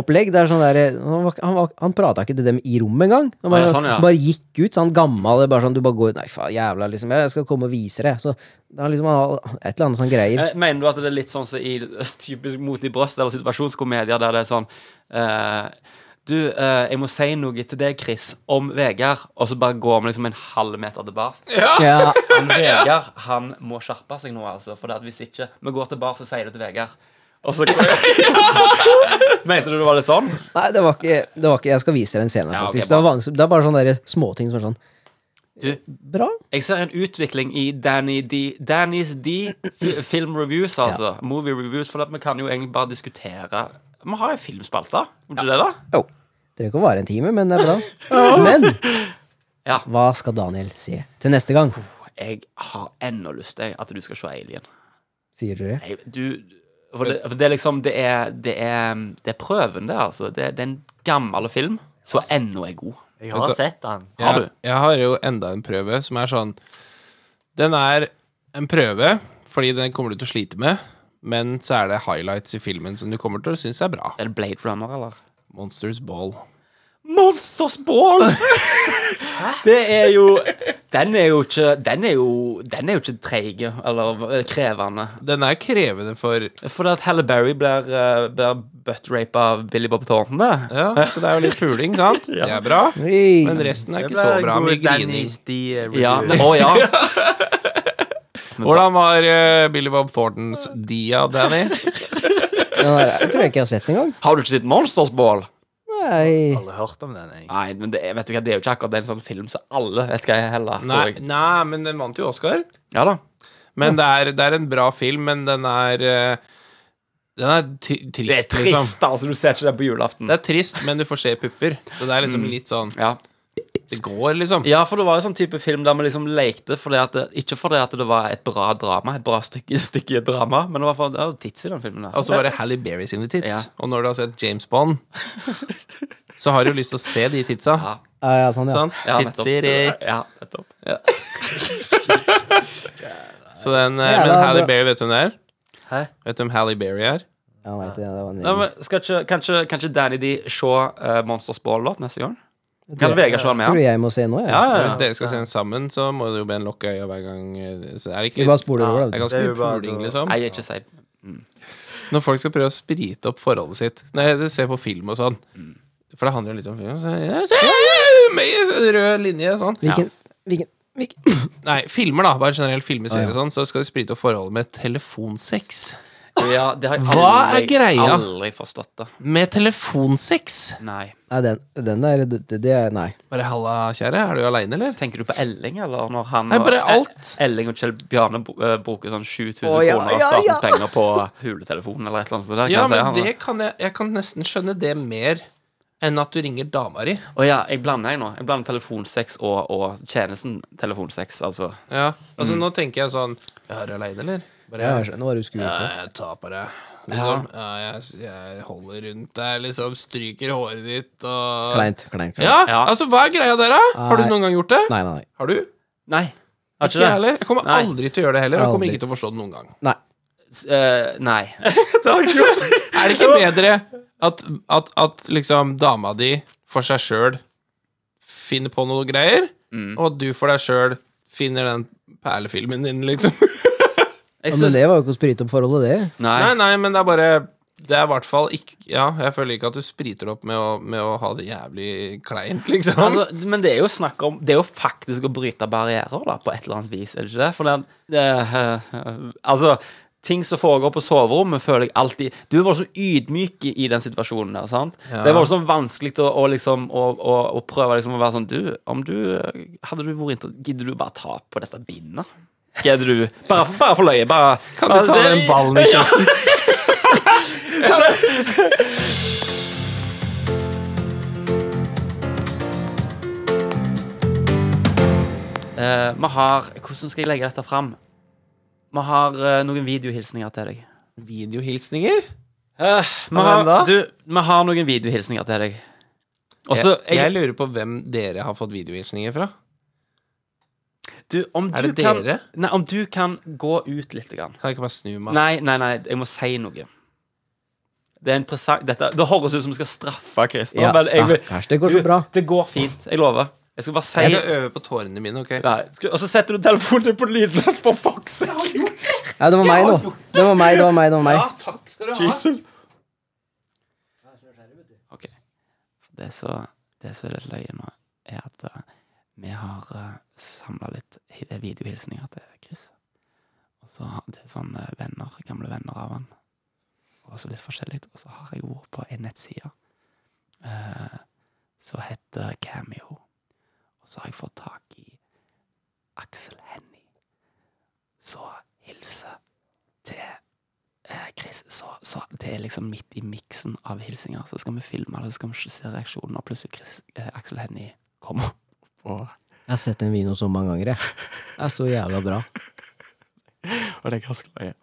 opplegg. Det er sånn der, han var, han, var- han prata ikke til dem i rommet engang. Han bare,
Å, ja, sånn, ja.
bare gikk ut, sånn gammel. Bare sånn, du bare går ut, Nei, faen, jævla, liksom. Jeg skal komme og vise det. Så det er liksom han har et eller annet sånn greier.
Eh, Mener du at det er litt sånn som i typisk mot i brøst eller situasjonskomedier, der det er sånn eh, Du, eh, jeg må si noe til deg, Chris, om Vegard. Og så bare går vi liksom en halv meter tilbake.
Ja,
Han Vegard han må skjerpe seg nå, altså. For det at hvis ikke vi går tilbake, så sier det til Vegard. Og så Mente du det var litt sånn?
Nei, det var ikke, det var ikke Jeg skal vise deg en scene,
Ja, ok,
faktisk. det, var vanskelig, det er bare sånne der småting som er sånn
Du,
Bra.
Jeg ser en utvikling i Danny D Danny's D fi- film reviews, altså. Movie reviews. For at vi kan jo egentlig bare diskutere Vi har en filmspalte, må ikke det, da?
Jo. Det trenger ikke å vare en time, men det er bra. Men
Ja.
hva skal Daniel se til neste gang?
Jeg har ennå lyst til at du skal se Alien.
Sier du det?
Jeg, du, for det, for det er liksom Det er, det er, det er prøven, det, altså. Det, det er en gammel film som ennå er god.
Jeg har sett den.
Har du?
Jeg, jeg har jo enda en prøve som er sånn Den er en prøve fordi den kommer du til å slite med, men så er det highlights i filmen som du kommer til å synes er bra.
Er det Blade Runner, eller?
Monsters Ball.
Monsters Ball! det er jo Den er jo ikke Den er jo, den er jo ikke treig eller eh, krevende.
Den er krevende for
Fordi at Halle Berry blir, eh, blir buttrape av Billy Bob Thornton, det.
Ja, så det er jo litt puling, sant? Det er bra.
Oi.
Men resten er ikke så bra. Mye grining.
Ja, men, å ja.
Hvordan var eh, Billy Bob Thorntons Dia, Danny?
Den der, jeg tror jeg ikke jeg har sett den engang.
Har du ikke sett Monsters Ball?
Nei.
Aldri hørt om den, jeg.
Nei, men det, er- vet du hva, det er jo ikke akkurat en sånn film som alle vet hva jeg heller. tror
Nei,
jeg.
nei, men den vant jo Oscar.
Ja da.
Men det er, det er en bra film, men den er eh, Den er ti- trist,
Det er
liksom.
trist, altså. Du ser ikke det på julaften.
Det er trist, men du får se pupper. Så det er liksom litt sånn
ja.
Det går, liksom.
Mm. ja, for det var jo sånn type film der vi liksom lekte fordi at det, Ikke fordi at det var et bra drama, et bra stykke, stykke drama, men det var for det var tits i den filmen. der.
Og så var det Halle Berry sine tits.
Ja.
Og når du har sett James Bond, så har du lyst til å se de titsa.
Ja.
Ja, ja, sånn, ja.
Sant?
ja, nettopp.
Titser i
Ja, nettopp.
Så den eh,
Ja,
Men
det er
Halle
bra.
Berry, vet du hvem det er?
Hæ?
Vet du hvem Halle Berry er?
Ja, nei, det, det var en-
Nei, men skal ikke, kan, ikke, kan ikke Danny D se eh, Monsters Ball-låt neste gang? Kan Vegard se den med? han?
Tror du jeg må se nå, jeg?
Ja, ja,
Hvis
ja.
dere skal se den sammen, så må det jo bli en lukke øye hver gang. eh, Så er det ikke
Vi bare
litt,
spoler
det
over, da.
er
vet du.
ganske
Det er jo
mye
bare-
puling, liksom.
Nei, jeg er ikke seig.
Når folk skal prøve å sprite opp forholdet sitt Når jeg ser på film og sånn For det handler jo litt om film så, jeg ser mye Rød linje og sånn
Hvilken, hvilken, hvilken
Nei, filmer da, bare generelt filmeserier og sånn Så skal de sprite opp forholdet med telefonsex
Ja, det har jeg aldri,
Hva er greia?
aldri forstått det.
Med telefonsex
Nei.
Nei, den, den der det, det- det er Nei.
Bare halla kjære, er du alene eller?
Tenker du på Elling, eller? Når han
Nei, bare
og-
alt.
E- Elling og Kjell Bjarne bo- eh, bruker sånn 7000
Å, ja,
kroner av
ja,
statens
ja.
penger på huletelefonen, eller et eller annet sånt.
Ja,
der, kan jeg si,
men
han,
det kan jeg Jeg kan nesten skjønne det mer Enn at du ringer dama di
Å ja, jeg blander jeg nå. Jeg blander telefonsex og, og tjenesten telefonsex, altså.
Ja, altså nå tenker jeg sånn Ja, er du alene eller? Bare,
Ja, jeg skjønner hva du skulle
Ja,
gjort.
jeg tar på deg. Liksom. Ja. jeg, jeg holder rundt deg, liksom. Stryker håret ditt og
Kleint. Kleint. kleint.
Ja,
Ja.
altså, hva er greia der, da? Har du
Nei.
noen gang gjort det?
Nei, nei, nei.
Har du?
Nei. Har
Ikke jeg heller. Jeg kommer
Nei.
aldri til å gjøre det heller. Jeg kommer
Aldri.
ikke til å forstå det noen gang.
nei.
S- eh, nei. det har jeg ikke gjort.
Er det ikke bedre at, at, at liksom dama di for seg sjøl finner på noe greier, og at du for deg sjøl finner den perlefilmen din, liksom?
Jeg
Ja, Men
synes,
det var jo ikke å sprite opp forholdet, det.
Nei,
nei.
nei, men det er bare Det er i hvert fall ikke Ja, jeg føler ikke at du spriter opp med å, med å ha det jævlig kleint, liksom.
Altså, men det er jo snakk om Det er jo faktisk å bryte barrierer, da, på et eller annet vis, er det ikke det? For den det, eh, Altså, ting som foregår på soverommet, føler jeg alltid Du er voldsomt ydmyk i, i den situasjonen der, sant? Det er voldsomt vanskelig å, å liksom å, å, å prøve liksom å være sånn Du, om du Hadde du vært inter... Gidder du bare ta på dette bindet? Gidder du Bare for, bare for løye, bare
Kan du ta den ballen i kjeften?
Eh, Vi har Hvordan skal jeg legge dette fram? Vi har eh, noen videohilsninger til deg.
Videohilsninger? Ja,
Eh, vi,
hvem da?
har, du, vi har noen videohilsninger til deg.
jeg,
Og så
Altså, jeg
jeg,
lurer på hvem dere har fått videohilsninger fra.
du, om
Er
du
det
kan,
dere?
Nei, om du kan gå ut litt grann.
Kan jeg ikke bare snu meg?
Nei, nei, nei, jeg må si noe. Det er en presang Dette, Det høres ut som vi skal straffe Christer.
Ja,
men jeg vil-
stakkars, det går så bra.
Det går fint. Jeg lover. Jeg skal bare si
Jeg skal øve på tårene mine, OK?
Nei. Skru- Og så setter du telefonen din på lydløs for fuck's sake.
Ja, det var meg nå. Det var meg, det var meg. det var meg
takk skal du
Jesus. Ok. Det som det som er litt løye nå, er at eh, vi har uh, samla litt hi- videohilsninger til Chris. Og så har det er sånn eh, venner, gamle venner av han. Og så litt forskjellig. Og så har jeg vært på en nettside eh, som heter Cameo. Og så har jeg fått tak i Aksel Hennie. Så hilser til eh, Chris, så, så det er liksom midt i miksen av hilsinger. Så skal vi filme det, så skal vi se reaksjonen, og plutselig Chris, eh, Axel Hennie kommer. Og,
Jeg har sett den videoen så mange ganger, jeg. Det er så jævla bra.
og det er ganske løye.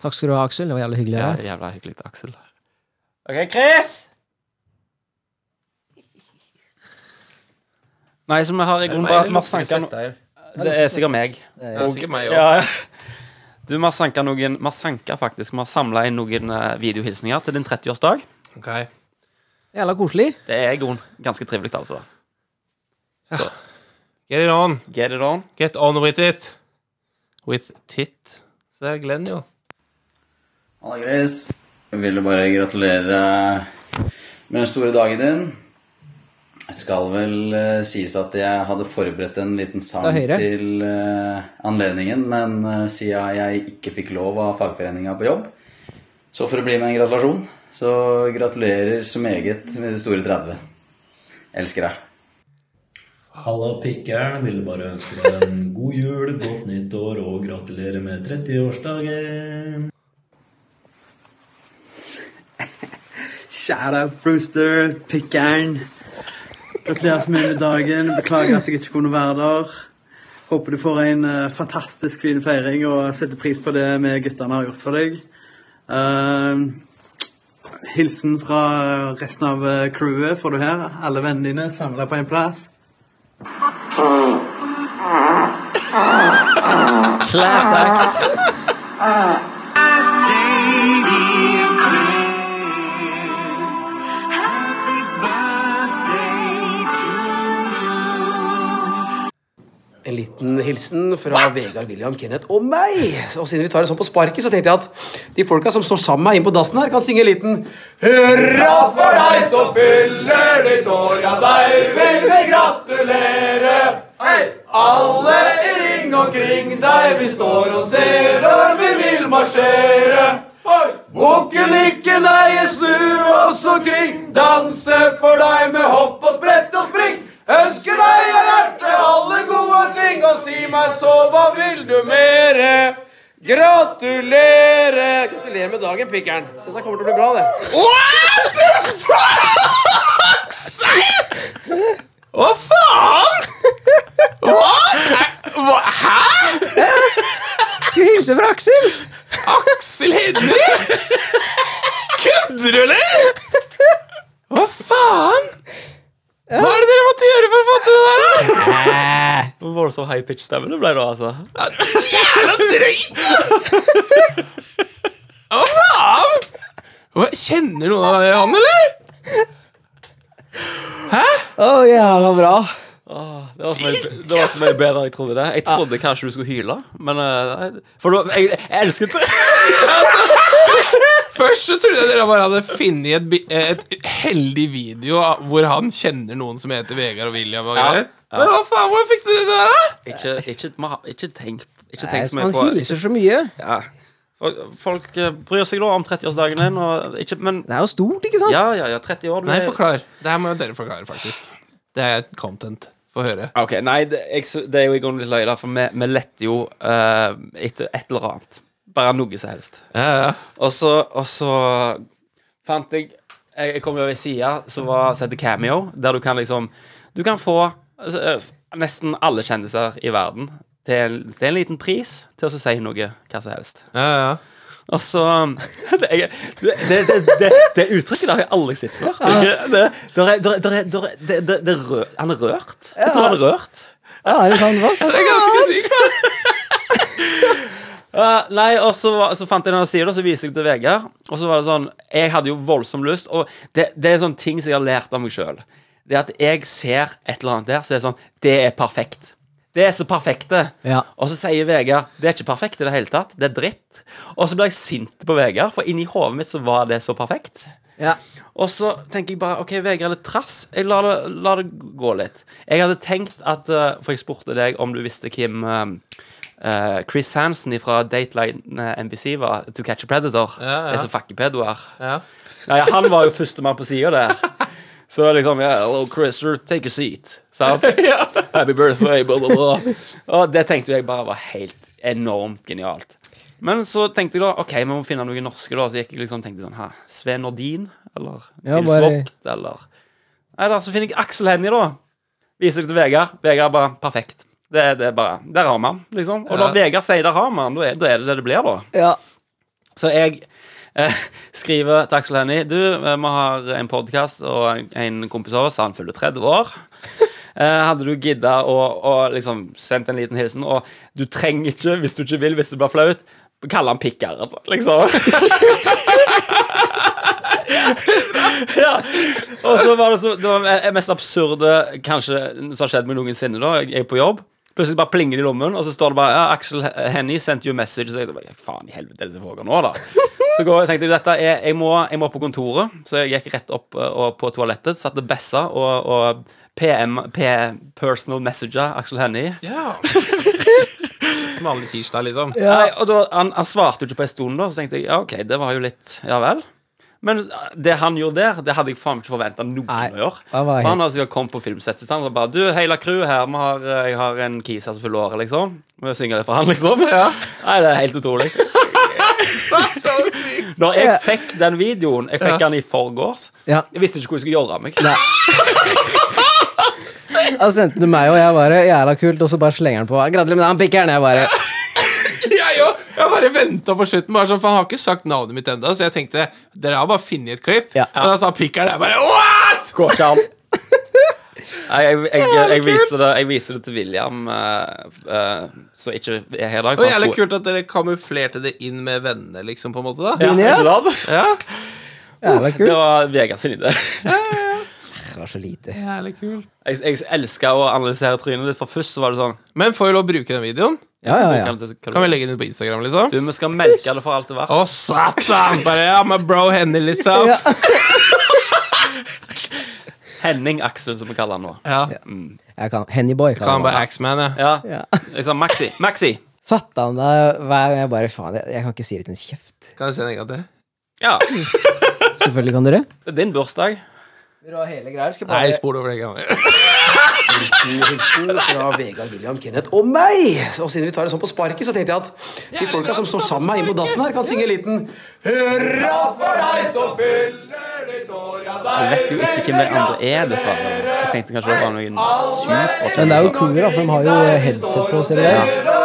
Takk skal du ha, Aksel. Det var jævla hyggelig.
Ja,
Ja.
jævla hyggelig til Axel. OK, Chris! Nei, så vi har i grunnen bare vi har sanket no- Det er sikkert meg.
Og meg òg.
Ja, ja. Du, vi har sanket noen Vi har sanket faktisk Vi har samla inn noen eh, videohilsninger til din 30-årsdag.
Jævla koselig.
Det er i grunnen ganske trivelig, altså.
Get it on.
Get it on.
Get on with it. With tit. Så det er Glenn, jo.
Halla, Chris. Jeg ville bare gratulere med den store dagen din. Det skal vel eh, sies at jeg hadde forberedt en liten sang
Det er høyre.
til eh, anledningen, men eh, siden jeg ikke fikk lov av fagforeninga på jobb, så for å bli med en gratulasjon, så gratulerer så meget med det store 30. Elsker deg.
Halla, pikkeren. Ville bare ønske deg en god jul, godt nyttår og gratulere med 30-årsdagen.
Shout out Brewster, pikkeren. Gratulerer så mye med dagen. Beklager at jeg ikke kunne være der. Håper du får en eh, fantastisk fin feiring og setter pris på det vi guttene har gjort for deg. Eh, hilsen fra resten av eh, crewet får du her. Alle vennene dine samla på en plass.
Class act.
En liten hilsen fra Vegard William Kenneth og meg. Og siden vi tar det sånn på sparket, så tenkte jeg at de folka som står sammen med meg inne på dassen her, kan synge en liten Hurra for deg som fyller ditt år, ja, deg vil vi gratulere. Hei! Alle i ring omkring deg, vi står og ser når vi vil marsjere. Bukken ikke nei, snu oss omkring, danse for deg med hopp og sprett og spring. Ønsker deg av hjertet alle gode ting, og si meg så, hva vil du mere? Gratulere! Gratulerer med dagen, pikkeren. Dette kommer til å bli bra, det.
Hva faen?! Hva? Hæ?!
Skal vi hilse fra Aksel?
Aksel Hennie?! Kødder du, eller?! Hva faen?! Hva er det dere måtte gjøre for å få til det der, da?!
Hvor voldsom high pitch stemme det ble da, altså.
Jævla drøyt! Hva faen? Hva, kjenner noen av han, eller?
Å, jævla bra.
Det var, så mye, det var så mye bedre enn jeg trodde det. Jeg trodde kanskje du skulle hyle, men eh, nei. For du, jeg, jeg elsket
Først så trodde jeg dere bare hadde funnet et, bi- eh, et heldig video av- hvor han kjenner noen som heter Vegard og William. Og greier. Men hva faen, hvordan fikk du det der, da?
Ikke, ikke, ma- ikke tenk, ikke
Nei,
tenk så mye
han
på
hilser så mye.
ja. Og Folk eh, bryr seg da om 30-årsdagen din, og ikke Men
Det er jo stort, ikke sant?
ja, ja, ja, 30 år du
Nei,
er-
forklar. Det her må dere forklare, faktisk. Det er content. Få høre.
Ok, Nei, det, jeg, sy- det er jo i grunnen litt løye, da, for vi, vi letter jo eh, etter et eller annet. Bare noe som helst.
Ja, ja.
Og så, og så fant jeg Jeg jeg kom jo over ei side som var- som heter Cameo, der du kan liksom Du kan få altså, eh, nesten alle kjendiser i verden til en, til en liten pris til å si noe hva som helst.
ja, ja.
Og så um, Det, jeg- det, det, det, det, det uttrykket der har jeg aldri sett før. Det, det, der er- der er- der er- der er- det, det, det er rø- Han er rørt. Jeg tror han er rørt.
Ja, er det sant? Hva?
Det er ganske sykt, da.
Eh, nei, og så, var- så fant jeg den sida, og så viser jeg til Vegard. Og så var det sånn Jeg hadde jo voldsom lyst, og det, det er sånne ting som jeg har lært av meg sjøl. Det er at jeg ser et eller annet der, så er det sånn Det er perfekt. Det er så perfekt, det.
Ja.
Og så sier Vegard det er ikke perfekt i det hele tatt. Det er dritt. Og så blir jeg sint på Vegard, for inni hodet mitt så var det så perfekt.
Ja.
Og så tenker jeg bare OK, Vegard er litt trass. Jeg lar det, la det gå litt. Jeg hadde tenkt at eh, For jeg spurte deg om du visste hvem eh, eh, Chris Hansen fra Dateline eh, NBC var. To Catch a Predator.
Ja, ja.
Det er så fuckepedoer.
Ja.
Nei, han var jo førstemann på sida der. Så liksom yeah, Hello, Chris. sure, Take a seat. Sant? Happy birthday, blah, blah, blah. Og det tenkte jeg bare var helt enormt genialt. Men så tenkte jeg da OK, vi må finne noen norske, da. Så gikk jeg liksom tenkte sånn Hæ, Sven Nordin? Eller
Ja,
Nils
bare-
Vogt? Eller Nei da, så finner jeg Aksel Hennie, da. Viser det til Vegard. Vegard bare Perfekt. Det, det er bare Der har vi han, liksom. Og når Vegard sier der har vi han, da er, da er det det det blir, da.
ja.
Så jeg eh, skriver til Aksel Hennie Du, eh, vi har en podkast, og en kompis av oss, han fyller 30 år. Eh, hadde du gidda å, å liksom sendt en liten hilsen? Og du trenger ikke, hvis du ikke vil, hvis det blir flaut, kalle han pikkeren, liksom. ja. Og så var det så Det var det mest absurde Kanskje som har skjedd meg noensinne. da Jeg er på jobb. Plutselig bare plinger det i lommen, og så står det bare ja, 'Axel Hennie sent you a message'. Så jeg bare, faen i helvete er det som foregår nå, da? Så går, tenkte jeg dette er, jeg, må, jeg må på kontoret, så jeg gikk rett opp eh, og på toalettet. Satte bessa og, og PM, P, personal messenger Axel Hennie.
Ja. Vanlig tirsdag, liksom.
Nei, og da, han, han svarte jo ikke på en stund, da, så tenkte jeg ja, ok, det var jo litt Ja vel. Men eh, det han gjorde der, det hadde jeg faen ikke forventa noen
Nei,
å gjøre.
han
For
var
han har sikkert kommet på filmsettet sitt han, og bare Du, hele crewet her, vi har, eh, jeg har en kis her som fyller året, liksom. Må jo synge det for han, liksom. Nei, det er helt utrolig. Når jeg fikk den videoen Jeg fikk den i forgårs.
Ja.
Jeg visste ikke hvor jeg skulle gjøre av meg.
Da sendte du meg, og jeg bare Jævla kult, og så bare slenger han på. Gratulerer med den pikkeren! Jeg bare
Jeg òg! Jeg bare venta på slutten. Bare sånn, for Han har ikke sagt navnet mitt ennå, så jeg tenkte dere har bare funnet et klipp.
Ja.
Men han sa pikkeren. Jeg bare What?!
Går ikke an. Nei, jeg, jeg, jeg, jeg, viser det, jeg viser det til William, eh, eh, som ikke er her i
Det
dag. for
var
han
jævlig
skulle-
kult at dere kamuflerte det inn med venner, liksom, på en måte. da
Ja,
Linje?
ikke sant?
Ja,
Jævla
Det
kult.
var Vegard sin idé.
Det var så lite.
jævlig kult
Jeg, jeg elsker å analysere trynet ditt, for først så var det sånn
Men får vi lov å bruke den videoen?
Ja, ja, ja.
kan du- kan du-
Kan vi legge den ut på Instagram, liksom?
Du, vi skal melke det for alt det er verdt.
Å, satan! Bare ja, med bro Henny, liksom.
Ja.
Ja.
Henning Aksel, som vi kaller han nå.
Jeg kan Hennyboy.
Kan han bare Axman, ja.
Ja,
Ja.
jeg sa Maxi. Maxi!
Satt han der hver gang jeg bare Faen, jeg, jeg kan ikke si det til en kjeft.
Kan jeg se den en gang til?
Ja,
Selvfølgelig kan du det.
det er din bursdag.
Vil du ha hele greier? Skal
Nei, spol over det. Kan.
Liten hilsen fra Vegard, William, Kenneth og meg. Og siden vi tar det sånn på sparket, så tenkte jeg at de folka som står sammen med meg inne på dassen her, kan synge en liten Hurra for deg som fyller ditt år, ja, deg
Jeg vet jo ikke hvem det andre er, dessverre. Jeg tenkte kanskje det var noen superkjente.
Men det er jo cool, da, for de har jo headset på seg. Ja.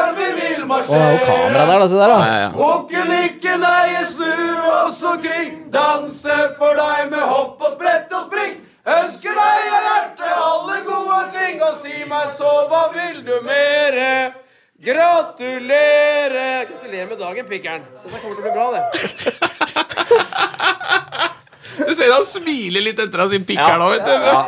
Og det er jo kamera der, da. Se der, da.
Ja, ja.
Hokkelikke, nei, snu oss omkring. Danse for deg med hopp og sprett og spring. Ønsker deg av hjertet alle gode ting, og si meg så, hva vil du mere? Gratulere! Gratulerer med dagen, pikkeren. Dette kommer til å bli bra, det.
Du ser han smiler litt etter av sin pikker
Ja.
nå, vet du.
Ja,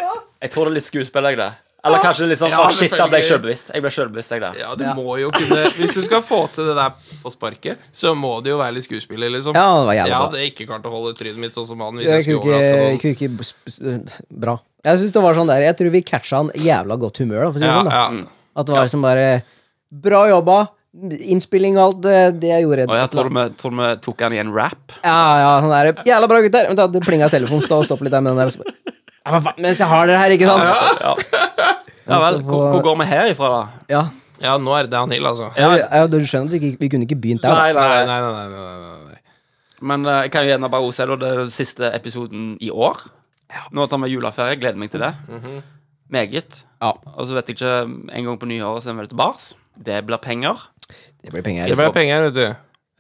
jeg tror det er litt skuespill, jeg, det. Eller kanskje litt sånn
Ja,
Å, shit, da ble jeg
selvfølgelig.
sjølbevisst. Jeg ble sjølbevisst, jeg, der.
Ja, du må jo kunne Hvis du skal få til det der på sparket, så må det jo være litt skuespiller, liksom.
Ja, det var
Jeg
jævla bra.
hadde ikke klart å holde trynet mitt sånn som han hvis
Jeg
jeg skulle
kunne ikke,
overraske
jeg
noen.
kunne ikke bus- bus- Bra. Jeg synes det var sånn der Jeg tror vi catcha han jævla godt humør, da. For å si det
Ja,
sånn, da.
ja.
At det var liksom bare Bra jobba. Innspilling og alt det, det jeg gjorde.
Og jeg tror vi, tror vi tok han i en rap.
Ja, ja, sånn der Jævla bra, gutter! Vent, da. Det plinga i telefonen. Stå og stopp litt der med den der. og så bare, Ja, men faen, mens jeg har dere her, ikke sant?
Ja, ja vel. Hvor, hvor går vi herifra, da?
Ja.
ja, nå er det downhill, altså.
ja. Du skjønner at vi, ikke, vi kunne ikke begynt der, da.
Nei, nei,
Nei,
nei.
nei, nei, nei, nei, nei.
Men eh, jeg kan jo gjerne bare også si da, det er den siste episoden i år. Nå tar vi juleferie. Gleder meg til det. Meget.
Ja.
Og så vet jeg ikke En gang på nyåret så er vi vel til bars. Det blir penger.
Det blir penger.
Det ble penger, vet du.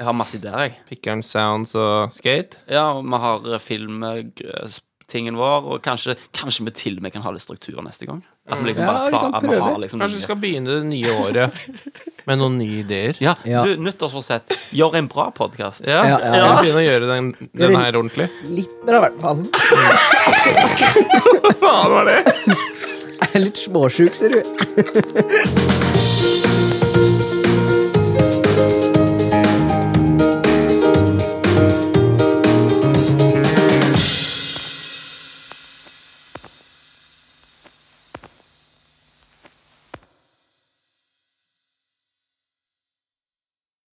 Jeg har masse ideer, jeg.
Pickeren Sounds og Skate.
Ja, og vi har eh, film eh, g- s- tingen vår, og kanskje, kanskje vi til og med kan ha litt struktur neste gang. At vi liksom
Ja,
bare
vi kan
plan, at vi
prøve.
har liksom
Kanskje vi skal begynne det nye året Med noen nye ideer.
Ja,
Ja.
du, nyttårsforsett. Gjør en bra podkast.
Ja,
Ja, ja.
Jeg må begynne å gjøre den, den her ordentlig.
Litt bra, i hvert fall.
Faen var det?
Jeg er litt småsjuk, ser du.